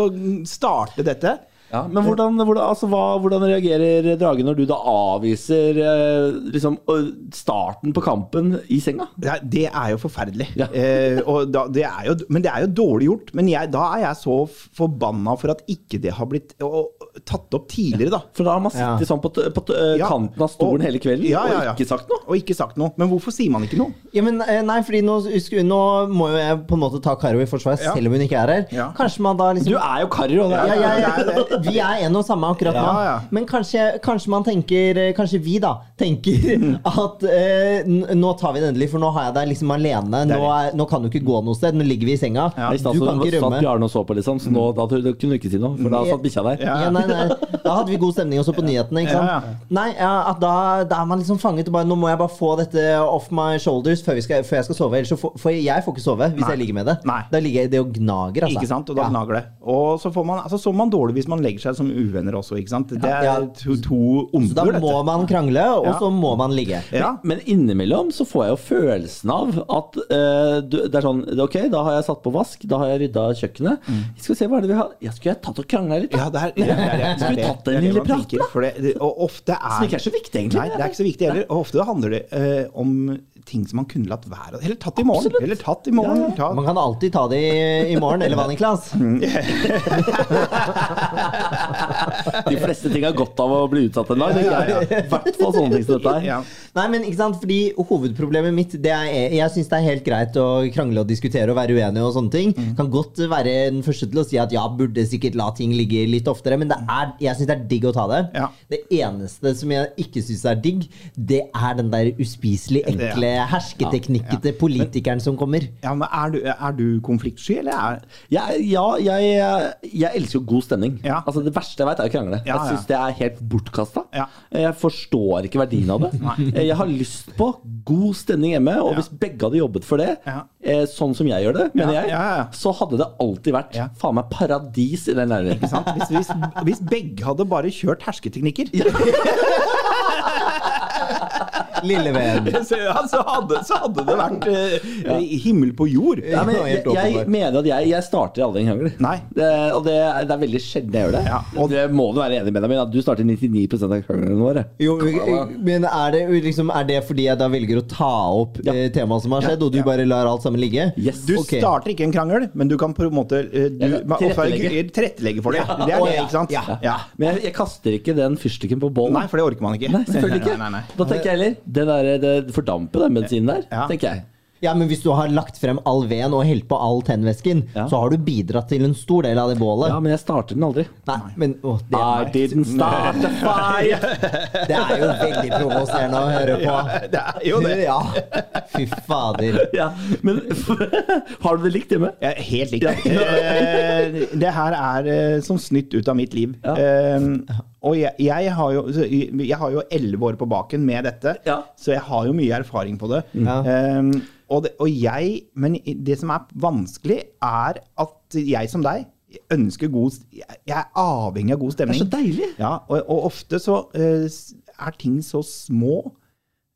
starte dette.
Ja, men hvordan, hvordan, altså, hva, hvordan reagerer Drage når du da avviser eh, liksom, å- starten på kampen i senga?
Det er, det er jo forferdelig.
Ja.
Eh, og da, det er jo, men det er jo dårlig gjort. Men jeg, da er jeg så forbanna for at ikke det har blitt å, tatt opp tidligere, da.
For da har man sittet
Ja.
sånn på, t- på t- eh,
Ja.
kanten av stolen
Og-
hele kvelden
Ja, ja, ja.
og ikke sagt noe.
Og ikke sagt noe. Men hvorfor sier man ikke noe?
Ja, men, eh, nei, fordi nå, sku- nå må jo jeg på en måte ta Karo i forsvar,
Ja.
selv om hun ikke er her.
Ja.
Kanskje man da liksom
Du er jo Kari, og det er
ja, ja,
Ja, det er
ja. Vi er en og samme akkurat nå.
Ja, ja.
Men kanskje, kanskje man tenker eh, Kanskje vi da tenker at eh, n- nå tar vi det endelig, for nå har jeg deg liksom alene.
Det er
Nå, er, nå kan du ikke gå noe sted. Nå ligger vi i senga.
Ja.
I
Du
stad så
kan ikke
satt
rømme. Mm.
Bjarne og så på, liksom, så nå, da tror jeg- da kunne du ikke si noe. For da satt bikkja der.
Ja.
Ja, nei, nei. Da hadde vi god stemning også på nyhetene. Ikke sant?
Ja, ja.
Nei, ja, at da, da er man liksom fanget. Og bare, nå må jeg bare få dette off my shoulders før, vi skal, før jeg skal sove. Ellers så får for jeg får ikke sove hvis
Nei.
jeg ligger med det.
Nei.
Da ligger jeg i det og gnager. Altså.
Ikke sant? Og da
Ja.
gnager det. Og så får man, altså, så man dårlig hvis man legger seg som uvenner også, ikke sant? Det
Ja.
er to, to
Så da
onder,
må
dette.
man krangle, og
Ja.
så må man ligge.
Ja.
Men innimellom så får jeg jo følelsen av at eh, du, det er sånn Ok, da har jeg satt på vask, da har jeg rydda kjøkkenet.
Mm.
Skal vi se, hva er det vi har Ja, skulle jeg tatt og krangla litt? da?
Ja, det er, det er, det er, det er,
Skulle vi tatt en lille
man
prat,
tenker, for det- det- Og ofte er
Som ikke er så viktig, egentlig.
Nei, det er ikke så viktig heller. Og ofte handler det eh, om ting som man kunne latt være. Eller tatt i morgen.
Absolutt.
Eller tatt i morgen. Ta,
Man kan alltid ta det i, i morgen, eller hva, Niklas?
De fleste ting har godt av å bli utsatt en dag. tenker jeg. I hvert fall sånne ting som dette her.
ja.
Nei, men ikke sant, fordi hovedproblemet mitt det er, Jeg syns det er helt greit å krangle og diskutere og være uenig og sånne ting. Kan godt være den første til å si at ja, burde sikkert la ting ligge litt oftere, men det er, jeg syns det er digg å ta det.
Ja.
Det eneste som jeg ikke syns er digg, det er den der uspiselig
Det-
ekle, hersketeknikkete politikeren som kommer.
ja, men er du, er du konfliktsky, eller er
Jeg, ja, jeg, jeg elsker jo god stemning.
Ja.
Altså Det verste jeg veit, er å krangle. Jeg
Ja, ja.
syns det er helt bortkasta.
Ja.
Jeg forstår ikke verdien av det. Eh, Jeg har lyst på god stemning hjemme, og hvis begge hadde jobbet for det,
Ja.
eh, sånn som jeg gjør det, mener
Ja,
jeg,
ja, ja.
så hadde det alltid vært
Ja.
faen meg paradis i den leiligheten.
Ikke sant? Hvis, hvis, hvis begge hadde bare kjørt hersketeknikker,
Lille venn.
så, ja, så, hadde, så hadde det vært eh, himmel på jord.
Nei, men
Ja,
jeg,
helt
jeg
åpenbart.
mener at jeg, jeg starter aldri en krangel.
Nei.
Det, og det, er- det er veldig sjelden jeg gjør det.
Ja,
og
og-
det må du være enig med, Benjamin, at du starter 99 av kranglene våre.
Jo, men er det, liksom, er det fordi jeg da velger å ta opp
Ja.
eh, temaet som har skjedd, og du
ja.
bare lar alt sammen ligge?
Yes.
Du
Ok.
starter ikke en krangel, men du kan på en måte eh, du,
Jeg kan tilrettelegge.
eh, tilrettelegge for det. Det er
Å,
det,
ja.
ikke sant?
Ja.
Ja.
Men jeg, jeg kaster ikke den fyrstikken på bålet.
Nei, for det orker man ikke.
Nei, selvfølgelig ikke.
Nei, nei, nei.
Da tenker jeg heller Det, der, det fordamper den bensinen der,
Ja.
tenker jeg.
Ja, men hvis du har lagt frem all veden og helt på all tennvæsken,
Ja.
så har du bidratt til en stor del av det bålet.
Ja, men jeg starter den aldri.
Nei, men å, det,
I didn't start a fire!
det er jo veldig provoserende å høre på.
Det er jo det.
Ja. Fy fader.
Ja, men har du det likt hjemme?
Jeg er helt likt. Eh, det her er eh, som snytt ut av mitt liv.
Ja.
Eh, og jeg, jeg har jo så jeg jeg har jo elleve år på baken med dette,
Ja.
så jeg har jo mye erfaring på det.
Ja.
Eh, og det. Og jeg Men det som er vanskelig, er at jeg som deg ønsker god st- Jeg jeg er avhengig av god stemning.
Det er så deilig.
Ja, og, og ofte så eh, s- er ting så små,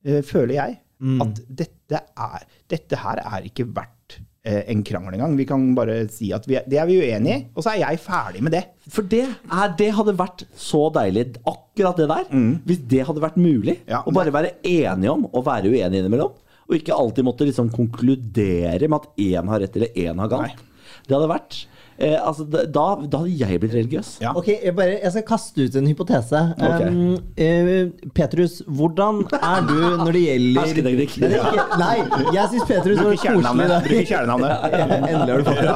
eh, føler jeg,
Mm.
at dette, er, dette her er ikke verdt eh, en krangel engang. Vi kan bare si at vi er, det er vi uenige i, og så er jeg ferdig med det.
For det, er, det hadde vært så deilig, akkurat det der. Hvis det hadde vært mulig.
Mm. Ja,
å bare være enige om å være uenige innimellom. Og ikke alltid måtte liksom konkludere med at én har rett eller én har galt. Det hadde vært eh, altså, da, da hadde jeg blitt religiøs.
Ja.
Ok, jeg, bare, jeg skal kaste ut en hypotese.
Ok.
Um, eh, Petrus, hvordan er du når det gjelder
Hersketeknikk.
Nei, det er ikke- Nei, jeg syns Petrus var koselig
Bruker
i
kjælenavnet.
dag.
Bruker kjælenavnet.
Ja, Endelig har du fått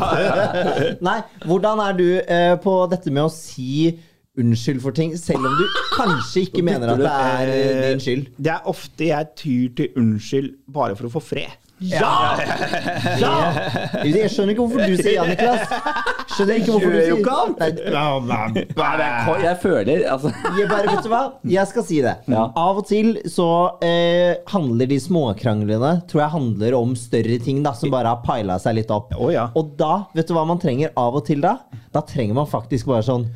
det. Nei, hvordan er du eh, på dette med å si unnskyld for ting, selv om du kanskje ikke mener at det er eh, din skyld?
Det er ofte jeg tyr til unnskyld bare for å få fred.
Ja!
Jeg skjønner ikke hvorfor du sier ja, Niklas. Skjønner ikke hvorfor du
Gjør jo
sier
ikke
Nei,
Og jeg føler altså,
Jeg bare, vet du hva? Jeg skal si det.
Ja.
Av og til så eh, handler de småkranglene Tror jeg handler om større ting da som bare har paila seg litt opp.
Å, ja.
Og da, vet du hva man trenger av og til da? Da trenger man faktisk bare sånn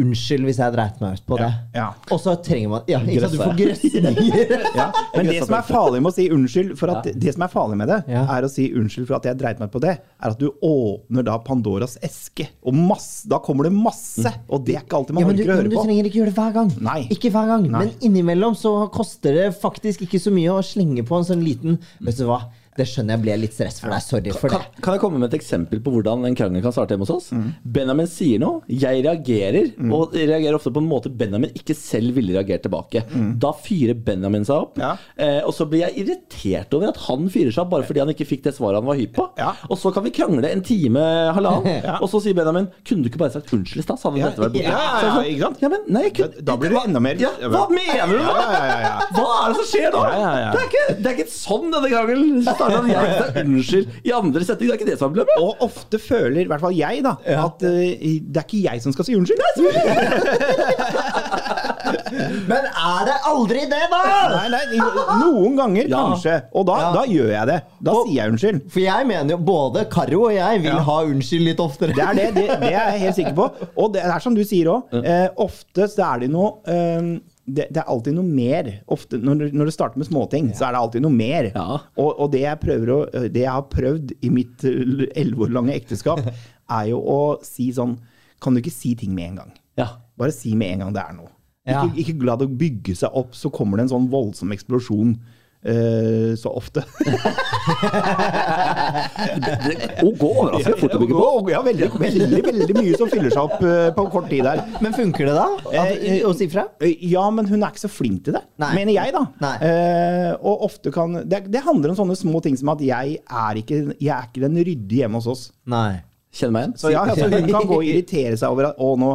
Unnskyld hvis jeg dreit meg ut på det.
Ja, ja.
Og så trenger man Ja, ikke sant, du får grøsninger.
Ja. Men det som er farlig med å si unnskyld for at, det som er farlig med det,
Ja.
er å si unnskyld for at jeg dreit meg på det, er at du åpner da Pandoras eske. Og masse, da kommer det masse, og det er ikke alltid
Mm.
man
Ja, men, du,
orker å
men du
høre på.
trenger ikke gjøre det hver gang.
Nei.
Ikke hver gang,
Nei.
Men innimellom så koster det faktisk ikke så mye å slenge på en sånn liten Vet du hva, det skjønner jeg ble litt stress for deg. Sorry for
kan,
det.
kan jeg komme med et eksempel på hvordan en krangel kan starte hjemme hos oss?
Mm.
Benjamin sier noe, jeg reagerer, og reagerer ofte på en måte Benjamin ikke selv ville reagert tilbake. Da fyrer Benjamin seg opp,
Mm. Ja.
eh, og så blir jeg irritert over at han fyrer seg opp bare fordi han ikke fikk det svaret han var hypp på.
Ja.
Og så kan vi krangle en time, halvannen,
Ja.
og så sier Benjamin 'Kunne du ikke bare sagt unnskyld i stad?' så hadde
Ja,
dette vært borte.
ja, ja,
Så jeg
ja,
sånn,
ikke sant?
Ja, men, nei, jeg kunne,
Da- da blir det enda mer-
ja, Hva mener du?
Ja, ja, ja, ja.
Hva er det som skjer nå?
Ja, ja, ja.
Det, er ikke, det er ikke sånn denne krangelen starta. Jeg sa unnskyld i andre setning. Det er ikke det som er problemet.
Og ofte føler, i hvert fall jeg, da, at eh, det er ikke jeg som skal si unnskyld.
Men er det aldri det, da?!
Nei, nei, noen ganger
Ja.
kanskje. Og da,
Ja.
da gjør jeg det. Da sier jeg unnskyld.
For jeg mener jo både Karo og jeg vil
Ja.
ha unnskyld litt oftere.
Det er det, det, det er jeg helt sikker på. Og det er som du sier òg, eh, ofte så er det noe eh, det, det er alltid noe mer. Ofte, når, du- når det starter med småting, så er det alltid noe mer.
Ja.
Og, og det, jeg prøver å, eh, det jeg har prøvd i mitt eh, elleve år lange ekteskap, er jo å si sånn Kan du ikke si ting med en gang?
Ja.
Bare si med en gang det er noe.
Ja.
Ikke, ikke la det bygge seg opp, så kommer det en sånn voldsom eksplosjon eh, så ofte.
Det, å gå overraskende fort å bygge på.
Ja, veldig, veldig, veldig mye som fyller seg opp eh, på kort tid der.
Men funker det, da? At,
Eh, eh,
å si fra?
Ja, men hun er ikke så flink til det,
Nei.
mener jeg, da.
Nei.
Eh, og ofte kan det, det handler om sånne små ting som at jeg er ikke, jeg er ikke den ryddige hjemme hos oss.
Nei.
Kjenn meg igjen.
Så ja, altså, hun kan gå og irritere seg over at å, nå,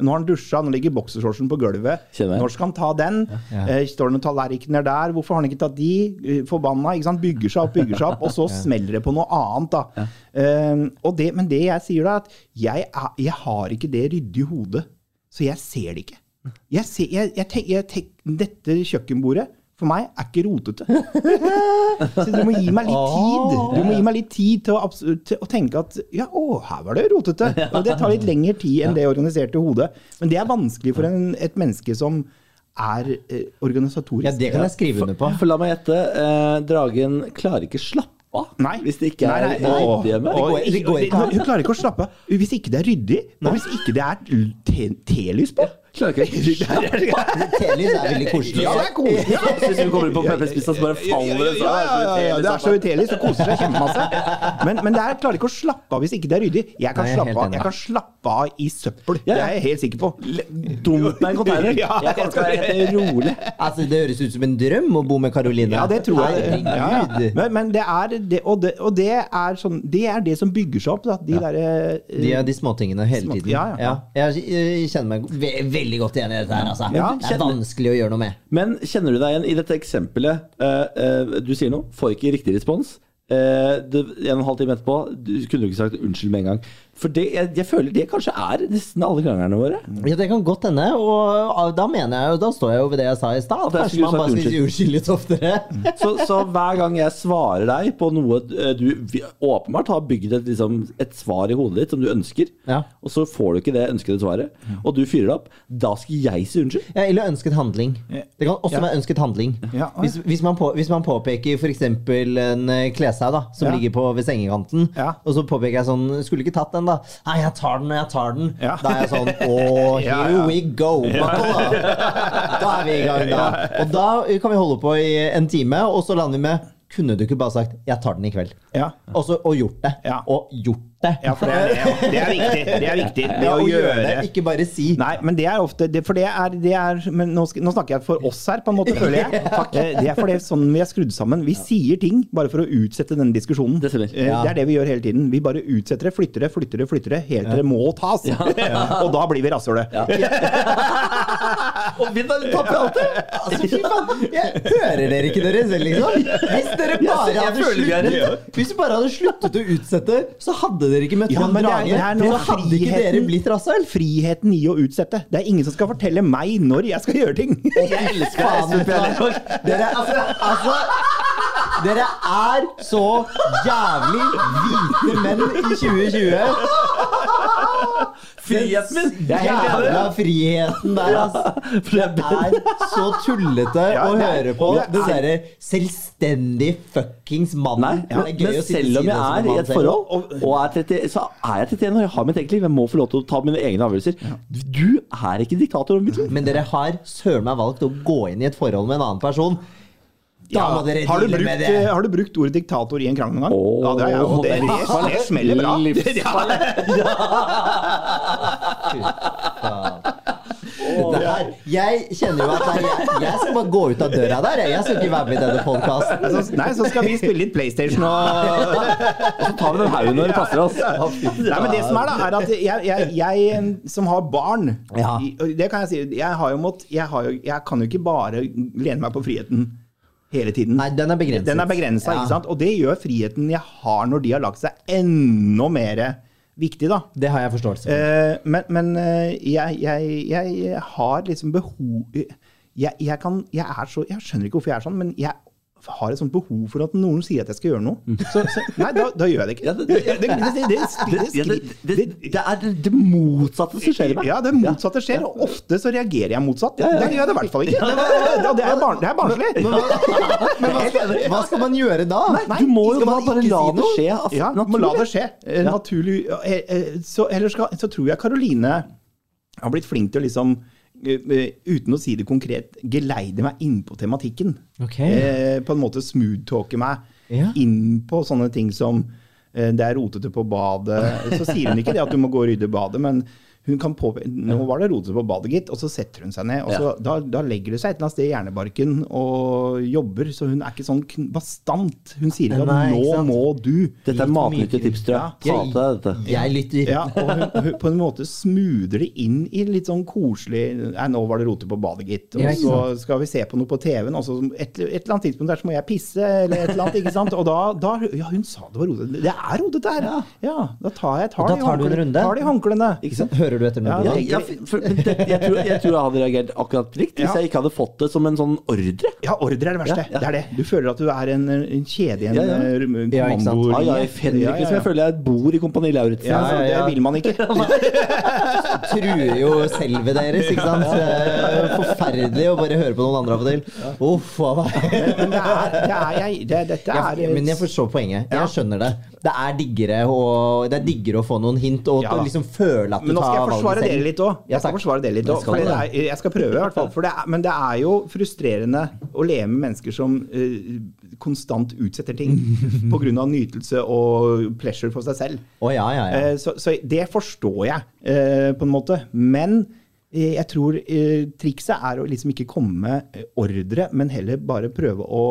nå har han dusja, nå ligger boksershortsen på gulvet.
Kjenner jeg.
Når skal han ta den?
Ja.
Eh, står det noen tallerkener der? Hvorfor har han ikke tatt de? Eh, Forbanna. ikke sant? Bygger seg opp, bygger seg opp, og så smeller det på noe annet. da. Eh, og det, men det jeg sier da, er at jeg, er, jeg har ikke det ryddig i hodet, så jeg ser det ikke. Jeg ser, jeg, jeg tenk, jeg tenk, dette kjøkkenbordet for meg er ikke rotete. Så du må gi meg litt tid. Du må gi meg litt tid til å, abs- til å tenke at ja, å, her var det rotete. Og det tar litt lengre tid enn det organiserte hodet. Men det er vanskelig for en, et menneske som er eh, organisatorisk.
Ja, det kan jeg skrive under på.
For la meg gjette. Eh, dragen klarer ikke slappe av
Nei.
hvis det ikke er
Nei, nei, nei.
ryddig hjemme.
Det
Og-
går- det går ikke an.
Hun klarer ikke å slappe av. Hvis ikke det er ryddig, og hvis ikke det er l- te- telys på
Klarer ikke å slappe av.
Telys er veldig koselig.
Ja, det er koselig. Ja.
Hvis vi kommer inn på pepperspissa, så bare faller det
Ja, ja, ja, ja, det er så
fra.
utelig, så koser seg kjempemasse. Men, men det her klarer ikke å slappe av hvis ikke det er ryddig. Jeg kan,
Nei, jeg er
slappe,
helt
av,
enig.
jeg kan slappe av i søppel,
Ja,
det
ja.
er jeg helt sikker på.
Dump meg en container.
Ja,
Jeg kan ikke være rolig.
Altså, det høres ut som en drøm å bo med Karoline.
Ja, det tror jeg. Ja, ja.
Herregud.
Men, men det er det, og det, og det, er sånn, det er det som bygger seg opp, da. De derre eh,
De er de småtingene hele
Små-
tiden.
ja, ja, ja.
Jeg, jeg kjenner meg ve veldig godt igjen i dette her, altså.
Ja,
det er
kjenner-
vanskelig å gjøre noe med.
Men kjenner du deg igjen i dette eksempelet? Eh, eh, du sier noe, får ikke riktig respons. Eh, det, en og en halv time etterpå du kunne du ikke sagt unnskyld med en gang. For det, jeg, jeg føler det kanskje er nesten alle krangerne våre.
Ja, Det kan godt hende, og da mener jeg jo, da står jeg jo ved det jeg sa i stad. at
Det er
Kanskje man
skulle
bare
sagt
skal si unnskyld litt oftere.
Så, så hver gang jeg svarer deg på noe eh, du vi- åpenbart har bygd et, liksom, et svar i hodet ditt som du ønsker,
Ja.
og så får du ikke det ønskede svaret, og du fyrer det opp, da skal jeg si unnskyld.
Ja, eller ønsket handling. Det kan også
Ja.
være ønsket handling.
Ja, oi.
Hvis, hvis, man på, hvis man påpeker f.eks. en eh, kleshaug da, som
Ja.
ligger på ved sengekanten,
Ja.
og så påpeker jeg sånn 'Skulle ikke tatt den, da.' 'Nei, jeg tar den, og jeg tar den.'
Ja.
Da er jeg sånn 'Å, here
Ja, ja.
we go'. Buckle up. Da er vi i gang, da. Og da kan vi holde på i en time, og så lander vi med 'Kunne du ikke bare sagt 'Jeg tar den i kveld'?
Ja.
Og, så, og gjort det.
Ja.
Og gjort det.
Ja, for det er, det, det er viktig. Det er viktig. Det
Ja,
å
og gjøre
gjøre
det, ikke bare si.
Nei, men det er ofte det, For det er, det er men nå, sk- nå snakker jeg for oss her, på en måte, føler jeg. Eh, Det er for det er sånn vi er skrudd sammen. Vi sier ting bare for å utsette denne diskusjonen.
Det stemmer.
Eh,
Ja.
det er det vi gjør hele tiden. Vi bare utsetter det, flytter det, flytter det, flytter det, helt til det må tas. Og da blir vi rasshøle.
Og vi tapper alltid!
Altså, fy faen, jeg hører dere ikke dere selv, liksom? Hvis dere bare
jeg
hadde
føler vi er
sluttet, hvis dere bare hadde sluttet å utsette, så hadde dere ikke møtt
Ja,
han
men det er- det
dragen.
er
Så
noe
hadde ikke
friheten-
dere blitt rasshøl.
Friheten i å utsette. Det er ingen som skal fortelle meg når jeg skal gjøre ting.
Jeg elsker deg, Espen Pedersen.
Dere, altså, altså Dere er så jævlig hvite menn i 2020.
Friheten min! Jeg er helt
Jævla
enig.
friheten der, ass.
For det er
Det er så tullete
Ja,
å
det er-
høre på.
det er-
Den derre selvstendig fuckings mannen.
Nei,
Det er gøy
men
å sitte og
selv om
si det
jeg
som
er i
mann
et
selv.
forhold, og er 30, så er jeg 31 og jeg har mitt eget liv. Jeg må få lov til å ta mine egne avgjørelser. Du er ikke diktator over mitt liv.
Men dere har søren meg valgt å gå inn i et forhold med en annen person. Da må dere
har, du
deale
brukt,
med det.
eh, har du brukt ordet diktator i en krangel noen gang?
Åh.
ja, det har jeg. Og det, det, det smeller bra.
Livsfarlig.
Det her. Jeg kjenner jo at det er- jeg, jeg skal bare gå ut av døra der. jeg. Jeg skal ikke være med i denne podkasten.
Så, nei, så skal vi spille litt PlayStation og
Så tar vi den haugen når det passer oss.
Nei, men det som er da, er at jeg, jeg, jeg som har barn
Ja.
i- og Det kan jeg si. Jeg, har jo mått, jeg, har jo, jeg kan jo ikke bare lene meg på friheten hele tiden.
Nei, den er begrenset.
Den er begrensa,
Ja.
ikke sant? Og det gjør friheten jeg har når de har lagt seg, enda mer viktig, da.
Det har jeg forståelse for.
Eh, men men eh, jeg, jeg, jeg har liksom behov jeg, jeg, kan, jeg, er så, jeg skjønner ikke hvorfor jeg er sånn, men jeg har et sånt behov for at noen sier at jeg skal gjøre noe. Så, så, nei, da, da gjør jeg det
Ja,
ikke.
det-
Det,
det-
det, det, det,
Det, ja, det, det,
det-
det er det- det motsatte som skjer i meg.
ja, det motsatte skjer, og ofte så reagerer jeg motsatt. Det gjør jeg det i hvert fall ikke. Det, det, det, er, barn, det er barnslig.
Men hva skal, hva skal man gjøre da?
Nei, du må jo
skal
da
man
bare
ikke
la
si
det
noe?
skje. Altså,
Ja, må la det skje. Eh, Naturlig. eh, eh, Så, ellers skal, så tror jeg Karoline har blitt flink til å liksom eh, eh, Uten å si det konkret, geleide meg inn på tematikken.
Ok.
Eh, på en måte smooth-talke meg
Ja.
inn på sånne ting som eh, det er rotete på badet. Så sier hun ikke det at du må gå og rydde badet, men hun kan påpe nå var det rotete på badet, gitt. Og så setter hun seg ned. og så, da, da legger det seg et eller annet sted i hjernebarken og jobber. Så hun er ikke sånn kn- bastant. Hun sier ikke at
Nei, ikke
'nå
sant?
må du'.
Dette er matnyttige tips, tror jeg. Ta
Ja.
til deg dette.
Jeg lytter.
Ja, og hun, hun på en måte smoother det inn i litt sånn koselig Nei, nå var det rote på badet, gitt. Og
Ja, ikke
så skal vi se på noe på TV-en, og så et, et eller annet tidspunkt der så må jeg pisse, eller et eller annet, ikke sant. Og da, da Ja, hun sa det var rotete. Det er rotete her! Ja. da tar jeg tar
Da
de
tar du en
håndklærne-
runde.
Tar de håndklærne.
Ikke sant? Hører du etter når
Ja,
du
Ja,
det-
tenker?
ja, for, for, men det, jeg, tror, jeg tror jeg hadde reagert akkurat likt hvis
Ja.
jeg ikke hadde fått det som en sånn ordre.
Ja, ordre er det verste.
Ja, ja.
Det er det. Du føler at du er en, en kjede i en
Ja, ja.
eh, rum-
Ja, ikke sant.
kommando-
Ai, ai, Henrik,
Ja, ja,
liksom.
ja.
Jeg føler jeg bor i Kompani Lauritzen.
Ja,
altså.
ja, ja. Det vil man ikke.
truer jo selvet deres, ikke sant? Eh, Forferdelig å bare høre på noen andre av og til. Uff a meg.
Men det er, det er jeg det, Dette er
Jeg, men jeg forstår poenget. Jeg skjønner det. Det er diggere å, det er diggere å få noen hint og
Ja da.
å liksom føle at du
Men nå skal
tar
jeg
valget
forsvare dere
selv.
litt òg.
Ja,
Jeg skal
takk.
forsvare dere litt
Men
også,
skal
for det
du
er, jeg skal prøve, i hvert fall. For det er, men det er jo frustrerende å leve med mennesker som eh, konstant utsetter ting pga. nytelse og pleasure for seg selv.
Å ja, ja, ja.
Eh, så, så det forstår jeg, eh, på en måte. Men eh, jeg tror eh, trikset er å liksom ikke komme med eh, ordre, men heller bare prøve å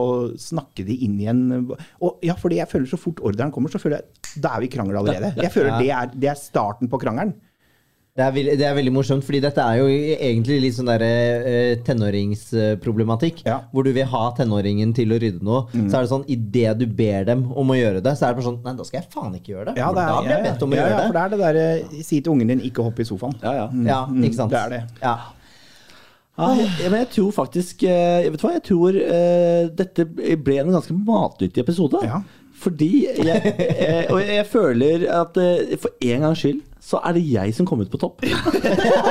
snakke de inn i en og, Ja, fordi jeg føler så fort ordren kommer, så føler jeg da er vi i krangel allerede. Jeg føler det er, det er starten på krangelen.
Det er, veldig, det er veldig morsomt, fordi dette er jo egentlig litt sånn der, eh, tenåringsproblematikk.
Ja. Mm.
Hvor du vil ha tenåringen til å rydde noe. Så er det sånn, idet du ber dem om å gjøre det, så er det bare sånn Nei, da skal jeg faen ikke gjøre det.
Ja, det er,
da blir jeg
ja, ja.
bedt om å
ja,
gjøre
ja,
det.
for det er det derre si til ungen din ikke hoppe i sofaen.
Ja, ja.
Ja, ikke sant?
Mm. det er det.
Ja.
Nei, jeg- men jeg tror faktisk eh, Vet du hva, jeg tror eh, dette ble en ganske matnyttig episode.
Ja.
Fordi jeg, eh, Og jeg føler at eh, for en gangs skyld så er det jeg som kom ut på topp.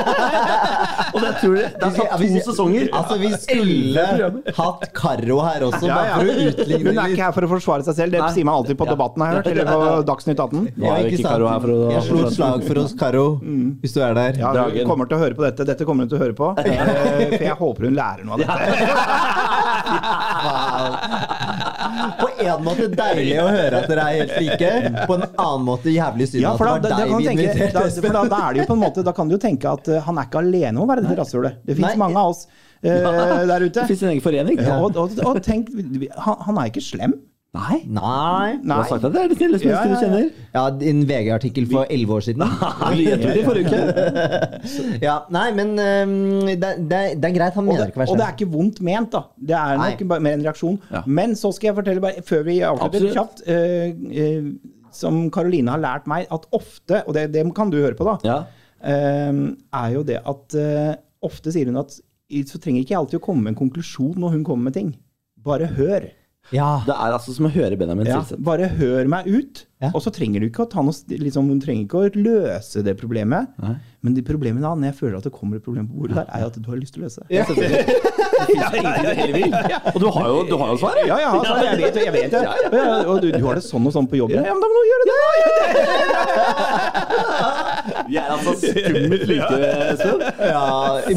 og det tror jeg Det er
Ja,
tatt
hvis-
to sesonger.
Altså, vi skulle
programmer.
hatt Karo her også,
Ja,
bare
ja.
for å
Hun
utligne
er ikke
litt.
her for å forsvare seg selv, det
Nei.
sier man alltid på
Ja.
Debatten har jeg hørt, eller på Dagsnytt 18.
Nå er jo ikke
sant?
Karo her for å-
Jeg slo et slag for oss, Karo, hvis du er der.
Mm. Ja, hun
Dragen.
kommer til å høre på dette. Dette kommer hun til å høre på. eh, For jeg håper hun lærer noe av dette.
Wow. På en måte deilig å høre at dere er helt like. På en annen måte jævlig synd
Ja, for da,
at det
da, da,
var deg
kan du
vi
tenke, da,
inviterte.
for da, da er det jo på en måte Da kan du jo tenke at eh, han er ikke alene om å være dette rasshølet. Det
Nei.
fins mange av oss eh, der ute.
Det fins en egen forening.
Ja, og, og, og tenk, han, han er ikke slem.
Nei.
Nei.
Du har
Nei.
sagt at det er det snilleste
Ja,
mennesket
ja, ja.
du kjenner.
Ja, din VG-artikkel for elleve år siden.
Du gjetter det i forrige uke.
Ja, nei, men øhm, det, det, det er greit. Han
Og
mener
det,
ikke å
og det
være
er ikke vondt ment, da. Det er
Nei.
nok bare mer en reaksjon.
Ja.
Men så skal jeg fortelle, bare før vi avslutter
Absolutt.
kjapt, eh, eh, som Karoline har lært meg, at ofte, og det, det kan du høre på, da,
Ja.
eh, er jo det at eh, ofte sier hun at i- så trenger ikke jeg alltid å komme med en konklusjon når hun kommer med ting. Bare hør.
Ja.
Det er altså som å høre Benjamin
Ja,
Silseth.
bare hør meg ut.
Ja.
Og så trenger du ikke å ta noe, st- liksom, hun trenger ikke å løse det problemet. Men det problemet da, når jeg føler at det kommer et problem på bordet der, er jo at du har lyst til å løse det.
Og du har jo, du har jo svaret!
Ja, ja, altså, jeg vet det. Jeg vet det. Ja, ja, Og du, du har det sånn og sånn på jobben. Ja, men da må du gjøre det! da, gjør det.
Vi er altså skummelt like, Espen.
Ja,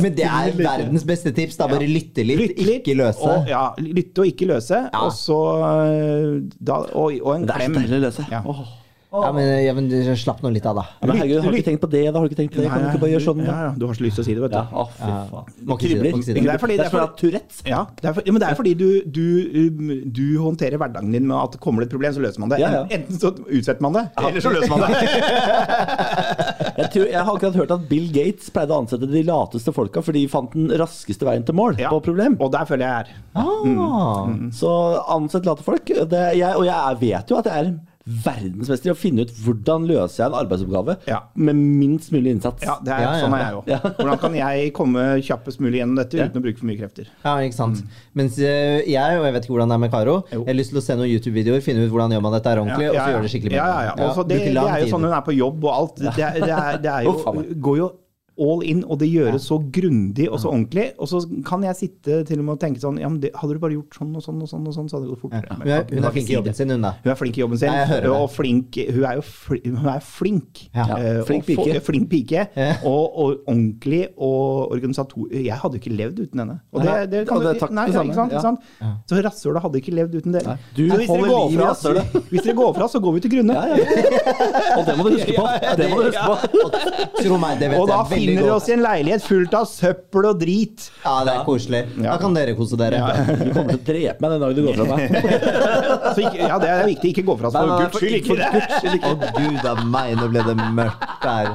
men det er verdens beste tips. Da bare lytte litt,
Lytte litt,
ikke løse.
Og, ja, lytte og ikke løse. Og så øh, da, og, og en
Det er så
klem.
deilig å løse.
Ja.
Åh.
Ja, men, ja, men slapp nå litt av, da.
Ja, Men herregud, har du ikke tenkt på det? Da har du ikke tenkt på det? Kan du ikke bare gjøre sånn?
Ja,
Da?
ja, du har så lyst til å si det, vet du.
Ja, å, fy faen.
Må ikke si det,
Kribler.
må ikke si det.
Det
Det er fordi-
er som å ha Tourettes.
Ja, det er, for, ja, men det er fordi du, du, um, du håndterer hverdagen din med at kommer det et problem, så løser man det.
Ja, ja.
Enten så utsetter man det, eller så løser man det.
Jeg, tror, jeg har akkurat hørt at Bill Gates pleide å ansette de lateste folka, for de fant den raskeste veien til mål
Ja.
på problem.
Og der føler jeg er. Mm.
Ah.
Så ansett late folk. Det, jeg, og jeg vet jo at jeg er verdensmester i å finne ut hvordan løser jeg en arbeidsoppgave
Ja.
med minst mulig innsats.
Ja, det er
Ja, ja,
sånn er
ja.
jeg òg. Hvordan kan jeg komme kjappest mulig gjennom dette uten å bruke for mye krefter?
Ja, ikke sant. Mens eh, jeg, og jeg vet ikke hvordan det er med Karo,
Jo.
jeg har lyst til å se noen YouTube-videoer, finne ut hvordan gjør man dette her ordentlig, og så gjøre det skikkelig
ja, ja, ja. Og så det,
bruke
det
lang
er jo
tid.
sånn hun er på jobb og alt. Det, er- det, er, det er
Å, faen
jo,
meg.
går jo all in, og det gjøres så grundig og så ordentlig. Og så kan jeg sitte til og med og tenke sånn ja, men det, Hadde du bare gjort sånn og sånn og sånn, og sånn så hadde det gått fortere.
Hun
Men
er,
kan-
hun
kan
er flink i
ikke si
jobben
det.
sin, hun da.
Hun er flink i jobben sin.
Ja, jeg hører det.
og flink, hun er jo fli, hun er flink.
Ja.
Eh,
Flink
og fo-
pike.
flink pike.
Ja.
Og, og ordentlig og organisator... Jeg hadde jo ikke levd uten henne. Og det,
Nei.
det kan
Og det er
du
takk
Nei,
det samme.
ikke sant?
Ja.
Ikke sant? Så rasshøla hadde ikke levd uten dere.
Du
Så hvis dere
holder liv
går
i
fra oss-
rasshølet.
Hvis dere går fra oss, så går vi til grunne.
Ja, ja. Og det må du huske på. Det må du huske på.
Tro meg, det vet
Og
jeg
da
veldig
finner dere
godt.
oss i en leilighet fullt av søppel og drit.
Ja, det er koselig. Da kan dere kose dere.
Du kommer til å drepe meg den dagen du går fra meg.
Så ikke, ja, det er viktig. Ikke gå fra oss for
Nei, nei,
guds skyld.
for
Ikke det.
Guds skyld, ikke. Å gud a meg, nå ble det mørkt der.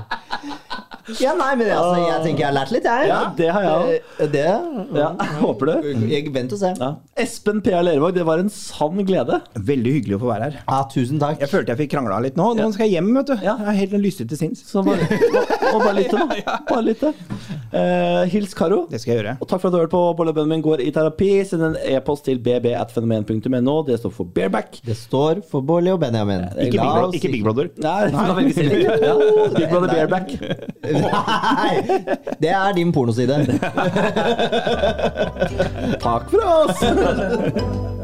Ja, nei, men altså, jeg tenker jeg har lært litt, jeg. Eh,
Ja, det har jeg
Det, det
Ja, håper du.
Jeg venter og ser.
Ja. Espen P.A. Lervåg, det var en sann glede.
Veldig hyggelig å få være her.
Ja, tusen takk.
Jeg følte jeg fikk krangla litt nå. Nå skal jeg hjem, vet du.
Ja.
Jeg er helt lystig til sinns.
Så bare, og bare lytte, da. Bare lytte. Eh, hils Karo.
Det skal jeg gjøre.
Og takk for at du har hørt på Bollebønnen min går i terapi. Send en e-post til bb.fenomen.no. Det står for bareback.
Det står for Bårli og Benjamin.
Ikke Big,
La
Bro-
oss
ikke big Brother.
Nei, da velger vi selv. Ja. Big Brother bareback.
Nei! Det er din pornoside.
Takk for oss!